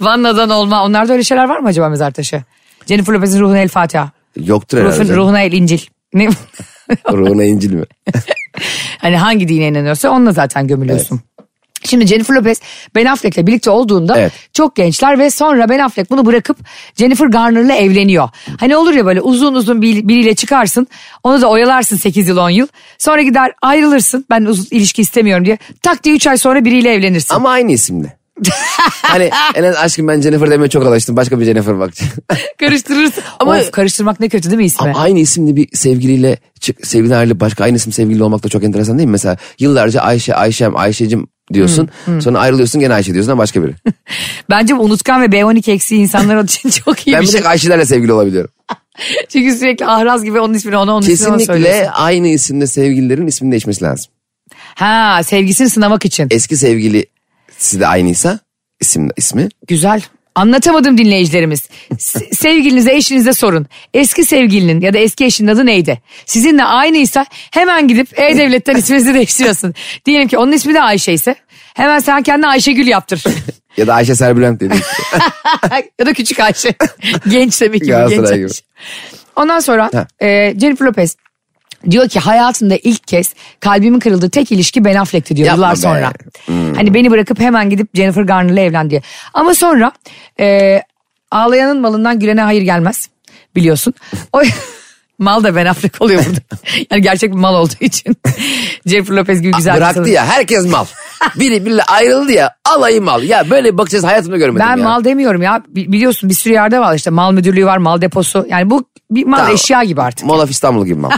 S2: Vanna'dan olma onlarda öyle şeyler var mı acaba mezar taşı? Jennifer Lopez'in ruhuna el Fatiha.
S3: Yoktur herhalde.
S2: Ruhun,
S3: canım.
S2: ruhuna el İncil. Ne?
S3: Ruhuna incil mi?
S2: hani hangi dine inanıyorsa onunla zaten gömülüyorsun. Şimdi Jennifer Lopez Ben Affleck'le birlikte olduğunda
S3: Evet.
S2: çok gençler ve sonra Ben Affleck bunu bırakıp Jennifer Garner'la evleniyor. Hani olur ya böyle uzun uzun bir, biriyle çıkarsın onu da oyalarsın 8 yıl 10 yıl. Sonra gider ayrılırsın ben uzun ilişki istemiyorum diye tak diye 3 ay sonra biriyle evlenirsin.
S3: Ama aynı isimle. hani en az aşkım ben Jennifer demeye çok alıştım. Başka bir Jennifer bakacağım.
S2: Karıştırırsın.
S3: Ama-
S2: of, karıştırmak ne kötü değil mi ismi?
S3: Ama aynı isimli bir sevgiliyle çık, sevgilin ayrılıp başka aynı isim sevgili olmak da çok enteresan değil mi? Mesela yıllarca Ayşe, Ayşem, Ayşecim diyorsun.
S2: Hmm,
S3: Sonra ayrılıyorsun gene Ayşe diyorsun ama başka biri.
S2: Bence unutkan ve B12 eksiği insanlar için çok iyi
S3: ben
S2: bir
S3: bir
S2: şey.
S3: tek Ayşelerle sevgili olabiliyorum.
S2: Çünkü sürekli ahraz gibi onun ismini ona onun ismini ona söylüyorsun.
S3: Kesinlikle aynı isimde sevgililerin ismini değişmesi lazım.
S2: Ha sevgisini sınamak için.
S3: Eski sevgilisi de aynıysa isim ismi.
S2: Güzel. Anlatamadım dinleyicilerimiz. Se- Sevgilinize, eşinize sorun. Eski sevgilinin ya da eski eşinin adı neydi? Sizinle aynıysa hemen gidip E-Devlet'ten isminizi değiştiriyorsun. Diyelim ki onun ismi de Ayşe ise hemen sen kendine Ayşegül yaptır.
S3: Ya da Ayşe Serbülent dedi.
S2: ya da küçük Ayşe. genç demek ki bu, genç
S3: Galatasaray gibi.
S2: Ayşe. Ondan sonra
S3: Ha.
S2: e, Jennifer Lopez diyor ki hayatımda ilk kez kalbimin kırıldığı tek ilişki Ben Affleck'ti diyor
S3: Yapma
S2: yıllar
S3: be. Hmm.
S2: sonra. Hani beni bırakıp hemen gidip Jennifer Garner'la evlen diye. Ama sonra e, ağlayanın malından gülene hayır gelmez biliyorsun. O mal da Ben Affleck oluyor burada. yani gerçek bir mal olduğu için. Jennifer Lopez gibi güzel bir
S3: Bıraktı
S2: kadın.
S3: ya herkes mal. Biri birle ayrıldı ya alayı mal. Ya böyle bir bakış açısı hayatımda görmedim
S2: Ben
S3: ya.
S2: mal demiyorum ya. Bi- Biliyorsun bir sürü yerde var işte mal müdürlüğü var, mal deposu. Yani bu bir mal
S3: Tamam.
S2: eşya gibi artık.
S3: Mall of İstanbul gibi mal.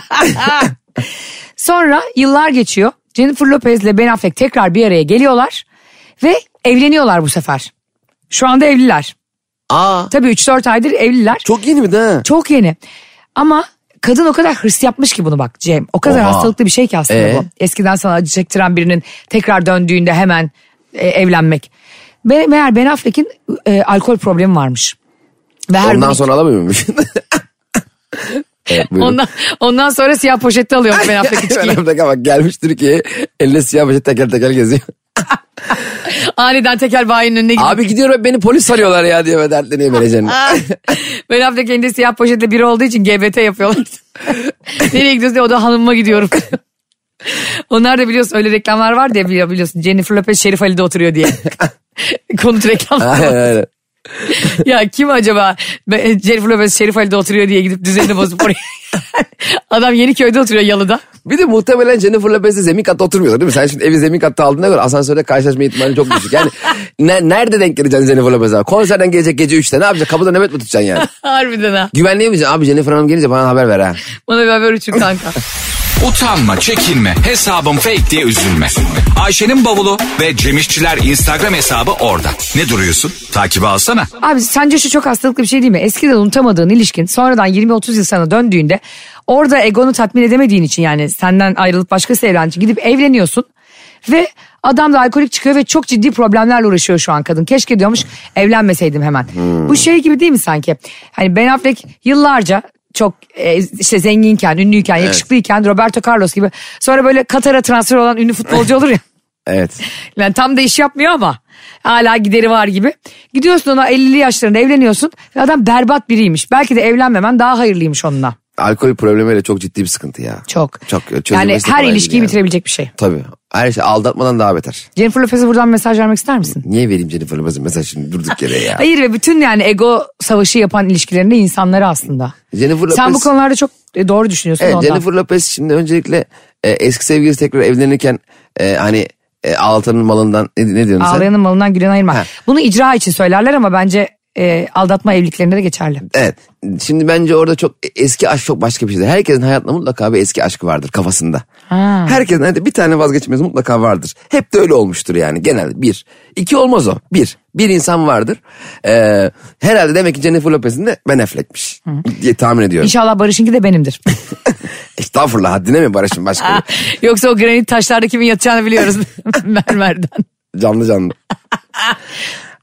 S2: Sonra yıllar geçiyor. Jennifer Lopez ile Ben Affleck tekrar bir araya geliyorlar ve evleniyorlar bu sefer. Şu anda evliler.
S3: Aa
S2: Tabii 3-4 aydır evliler. Çok,
S3: çok yeni mi de?
S2: yeni. Ama kadın o kadar hırs yapmış ki bunu bak Cem. O kadar
S3: Oha.
S2: hastalıklı bir şey ki aslında
S3: Ee?
S2: bu. Eskiden sana acı çektiren birinin tekrar döndüğünde hemen e, evlenmek. Be- meğer Ben Affleck'in e, alkol problemi varmış. Ve her
S3: Ondan
S2: gün-
S3: sonra alamıyor muymuş? evet, buyurun.
S2: ondan, ondan sonra siyah poşette alıyormuş Ben Affleck içkiyi.
S3: Ben dakika bak gelmiş Türkiye'ye eline siyah başı teker teker geziyor.
S2: Aniden tekel bayinin önüne gidiyor.
S3: Abi gidiyorum beni polis sarıyorlar ya diye ve dertleniyor vereceğini.
S2: Ben hafta kendi siyah poşetle biri olduğu için GBT yapıyorlar. Nereye gidiyorsun diye o da hanımıma gidiyorum. Onlar da biliyorsun öyle reklamlar var diye bili- biliyorsun. Jennifer Lopez Şerif Ali'de oturuyor diye. Konut reklam.
S3: Aynen aynen.
S2: ya kim acaba Ben- e, Jennifer Lopez Şerif Ali'de oturuyor diye gidip düzenini bozup oraya. Adam Yeniköy'de oturuyor yalıda.
S3: Bir de muhtemelen Jennifer Lopez'le zemin katta oturmuyorlar değil mi? Sen şimdi evi zemin katta aldığına göre asansörde karşılaşma ihtimali çok düşük. Yani ne- nerede denk geleceksin Jennifer Lopez'e? Konserden gelecek gece 3'te ne yapacaksın? Kapıda nöbet mi tutacaksın yani?
S2: Harbiden ha.
S3: Güvenliğe mi diyeceksin? Abi Jennifer Hanım gelince bana haber ver ha.
S2: Bana bir haber uçur kanka.
S1: Utanma, çekinme, hesabım fake diye üzülme. Ayşe'nin bavulu ve Cemişçiler Instagram hesabı orada. Ne duruyorsun? Takibi alsana.
S2: Abi sence şu çok hastalıklı bir şey değil mi? Eskiden unutamadığın ilişkin sonradan 20-30 yıl sana döndüğünde orada egonu tatmin edemediğin için yani senden ayrılıp başkası evlendiği için gidip evleniyorsun. Ve adam da alkolik çıkıyor ve çok ciddi problemlerle uğraşıyor şu an kadın. Keşke diyormuş evlenmeseydim hemen. Bu şey gibi değil mi sanki? Hani Ben Affleck yıllarca çok e, işte zenginken, ünlüyken, yakışıklıyken Roberto Carlos gibi. Sonra böyle Katar'a transfer olan ünlü futbolcu olur ya.
S3: Evet.
S2: Yani tam da iş yapmıyor ama hala gideri var gibi. Gidiyorsun ona 50'li yaşlarında evleniyorsun ve adam berbat biriymiş. Belki de evlenmemen daha hayırlıymış onunla.
S3: Alkol problemiyle çok ciddi bir sıkıntı ya.
S2: Çok.
S3: Çok. çözülmesi
S2: Yani
S3: de
S2: her
S3: kolay
S2: ilişkiyi
S3: değil yani.
S2: bitirebilecek bir şey.
S3: Tabii. Her şey aldatmadan daha beter.
S2: Jennifer Lopez'e buradan mesaj vermek ister misin?
S3: Niye vereyim Jennifer Lopez'e mesajını durduk yere ya?
S2: Hayır ve bütün yani ego savaşı yapan ilişkilerinde insanları aslında.
S3: Jennifer Lopez...
S2: Sen bu konularda çok e, doğru düşünüyorsun
S3: Evet,
S2: ondan.
S3: Jennifer Lopez şimdi öncelikle e, eski sevgilisi tekrar evlenirken e, hani e, Altan'ın malından ne, ne diyorsun sen?
S2: Ağlayanın malından gülen ayırma.
S3: Ha.
S2: Bunu icra için söylerler ama bence e, aldatma evliliklerinde de geçerli.
S3: Evet. Şimdi bence orada çok e, eski aşk çok başka bir şeydir. Herkesin hayatında mutlaka bir eski aşkı vardır kafasında.
S2: Ha.
S3: Herkesin hayatında bir tane vazgeçmez mutlaka vardır. Hep de öyle olmuştur yani genelde bir. iki olmaz o. Bir. Bir insan vardır. Ee, herhalde demek ki Jennifer Lopez'in de Ben Affleck'miş diye tahmin ediyorum.
S2: İnşallah Barış'ınki de benimdir.
S3: Estağfurullah haddine mi Barış'ın başka
S2: Yoksa o granit taşlarda kimin yatacağını biliyoruz mermerden.
S3: Canlı canlı.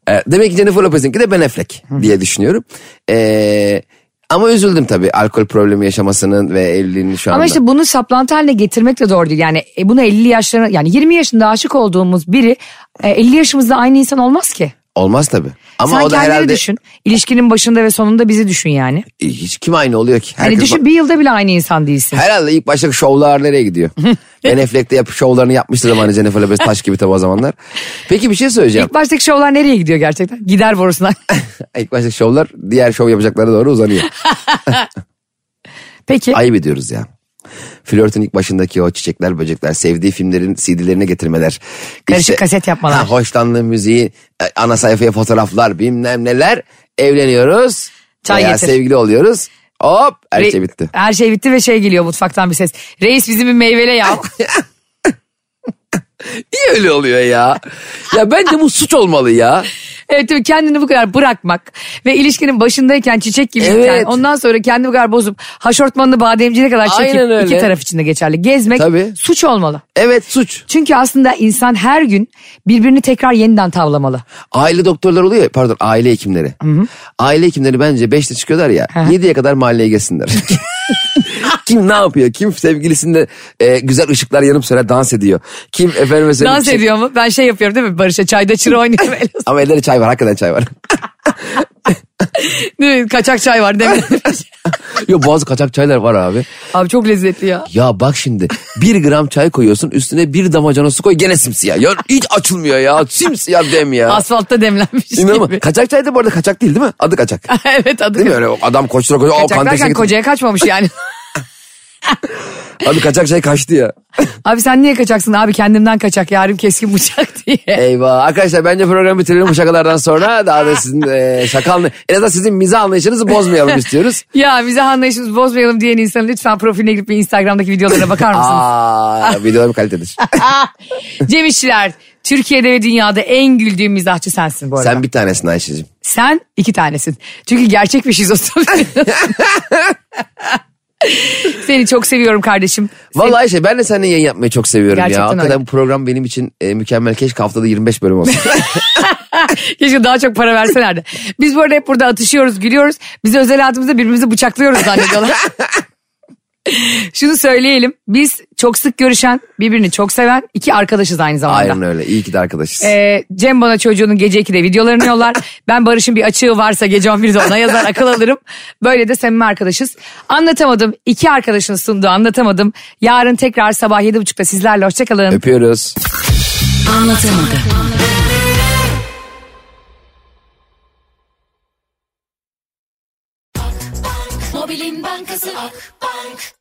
S3: Ee, Demek ki Jennifer Lopez'inki de Ben Affleck diye düşünüyorum. Ee, ama üzüldüm tabii alkol problemi yaşamasının ve evliliğinin şu anda.
S2: Ama işte bunu saplantı haline getirmek de doğru değil. Yani e, bunu 50 yaşlarına yani 20 yaşında aşık olduğumuz biri e, 50 yaşımızda aynı insan olmaz ki.
S3: Olmaz tabii. Ama
S2: Sen
S3: o da
S2: kendini
S3: herhalde
S2: düşün. İlişkinin başında ve sonunda bizi düşün yani.
S3: E, hiç kim aynı oluyor ki?
S2: Hani
S3: Herkes-
S2: düşün bir yılda bile aynı insan değilsin.
S3: Herhalde ilk başta şovlar nereye gidiyor? ben Affleck de yap, şovlarını yapmıştı zamanı Jennifer Lopez taş gibi tabii o zamanlar. Peki bir şey söyleyeceğim.
S2: İlk baştaki şovlar nereye gidiyor gerçekten? Gider borusuna.
S3: ilk başta şovlar diğer şov yapacaklara doğru uzanıyor.
S2: Peki
S3: Ayıp ediyoruz ya. Flörtün ilk başındaki o çiçekler böcekler sevdiği filmlerin CD'lerine getirmeler.
S2: Karışık kaset yapmalar.
S3: Ha, hoşlandığı müziği e, ana sayfaya fotoğraflar bilmem neler evleniyoruz.
S2: Çay
S3: veya
S2: getir.
S3: sevgili oluyoruz. Hop her
S2: Re-
S3: şey bitti.
S2: Her şey bitti ve şey geliyor mutfaktan bir ses. Reis bizim bir meyvele ya.
S3: Niye öyle oluyor ya? Ya bence bu suç olmalı ya.
S4: Evet tabii kendini bu kadar bırakmak ve ilişkinin başındayken çiçek gibi
S3: Evet.
S4: yani ondan sonra kendini bu kadar bozup haşortmanını bademciğine kadar çekip
S3: Aynen öyle.
S4: iki taraf için de geçerli. Gezmek
S3: Tabii.
S4: suç olmalı.
S3: Evet suç.
S4: Çünkü aslında insan her gün birbirini tekrar yeniden tavlamalı.
S3: Aile doktorları oluyor ya, pardon aile hekimleri. Aile hekimleri bence 5'te çıkıyorlar ya
S4: Hı hı.
S3: 7'ye kadar mahalleye gelsinler. kim ne yapıyor? Kim sevgilisinde e, güzel ışıklar yanıp söyle dans ediyor. Kim efendim mesela...
S4: Dans ediyor mu? Ben şey yapıyorum değil mi? Barış'a çayda çıra oynuyorum. El olsun.
S3: Ama ellerinde çay var hakikaten çay var.
S4: Değil mi? Kaçak çay var değil mi?
S3: Yo bazı kaçak çaylar var abi.
S4: Abi çok lezzetli ya.
S3: Ya bak şimdi bir gram çay koyuyorsun üstüne bir damacana su koy gene simsiyah. Ya hiç açılmıyor ya simsiyah dem ya.
S4: Asfaltta demlenmiş
S3: İnanma.
S4: gibi.
S3: Kaçak çay da bu arada kaçak değil değil mi? Adı kaçak.
S4: evet adı.
S3: Değil mi öyle adam koştura koştura. "Aa,
S4: Kaçak
S3: Kanteks'e
S4: derken
S3: gittim."
S4: kocaya kaçmamış yani.
S3: Abi kaçak çay kaçtı ya.
S4: abi sen niye kaçaksın abi kendimden kaçak yarım keskin bıçak diye.
S3: Eyvah. Arkadaşlar bence programı bitirelim bu şakalardan sonra. Daha da sizin e, şakalını en azından sizin mizah anlayışınızı bozmayalım istiyoruz.
S4: Ya bize anlayışımızı bozmayalım diyen insan lütfen profiline girip bir Instagram'daki videolara bakar mısınız?
S3: Aa, videolarım kalitedir.
S4: Cem İşçiler, Türkiye'de ve dünyada en güldüğüm mizahçı sensin bu arada. Sen,
S3: Sen bir tanesin Ayşe'cim.
S4: iki tanesin. Çünkü gerçek bir şizofren. Seni çok seviyorum kardeşim.
S3: Vallahi Ayşe ben de seninle yayın yapmayı çok seviyorum
S4: Gerçekten
S3: ya. Hakikaten
S4: öyle.
S3: bu program benim için e, mükemmel. Keşke haftada 25 bölüm olsun.
S4: Keşke daha çok para verselerdi. Biz bu arada hep burada atışıyoruz, gülüyoruz. Biz özel hayatımızda birbirimizi bıçaklıyoruz zannediyorlar. Şunu söyleyelim. Biz çok sık görüşen, birbirini çok seven iki arkadaşız aynı zamanda.
S3: Aynen öyle. İyi ki de arkadaşız.
S4: Ee, Cem bana çocuğunun gece 2'de videolarını yollar. ben Barış'ın bir açığı varsa gece 11'de ona yazar akıl alırım. Böyle de samimi arkadaşız. Anlatamadım. iki arkadaşın sunduğu anlatamadım. Yarın tekrar sabah 7.30'da sizlerle. Hoşçakalın.
S3: Öpüyoruz.
S5: Anlatamadım.
S6: Mobilin bankası Akbank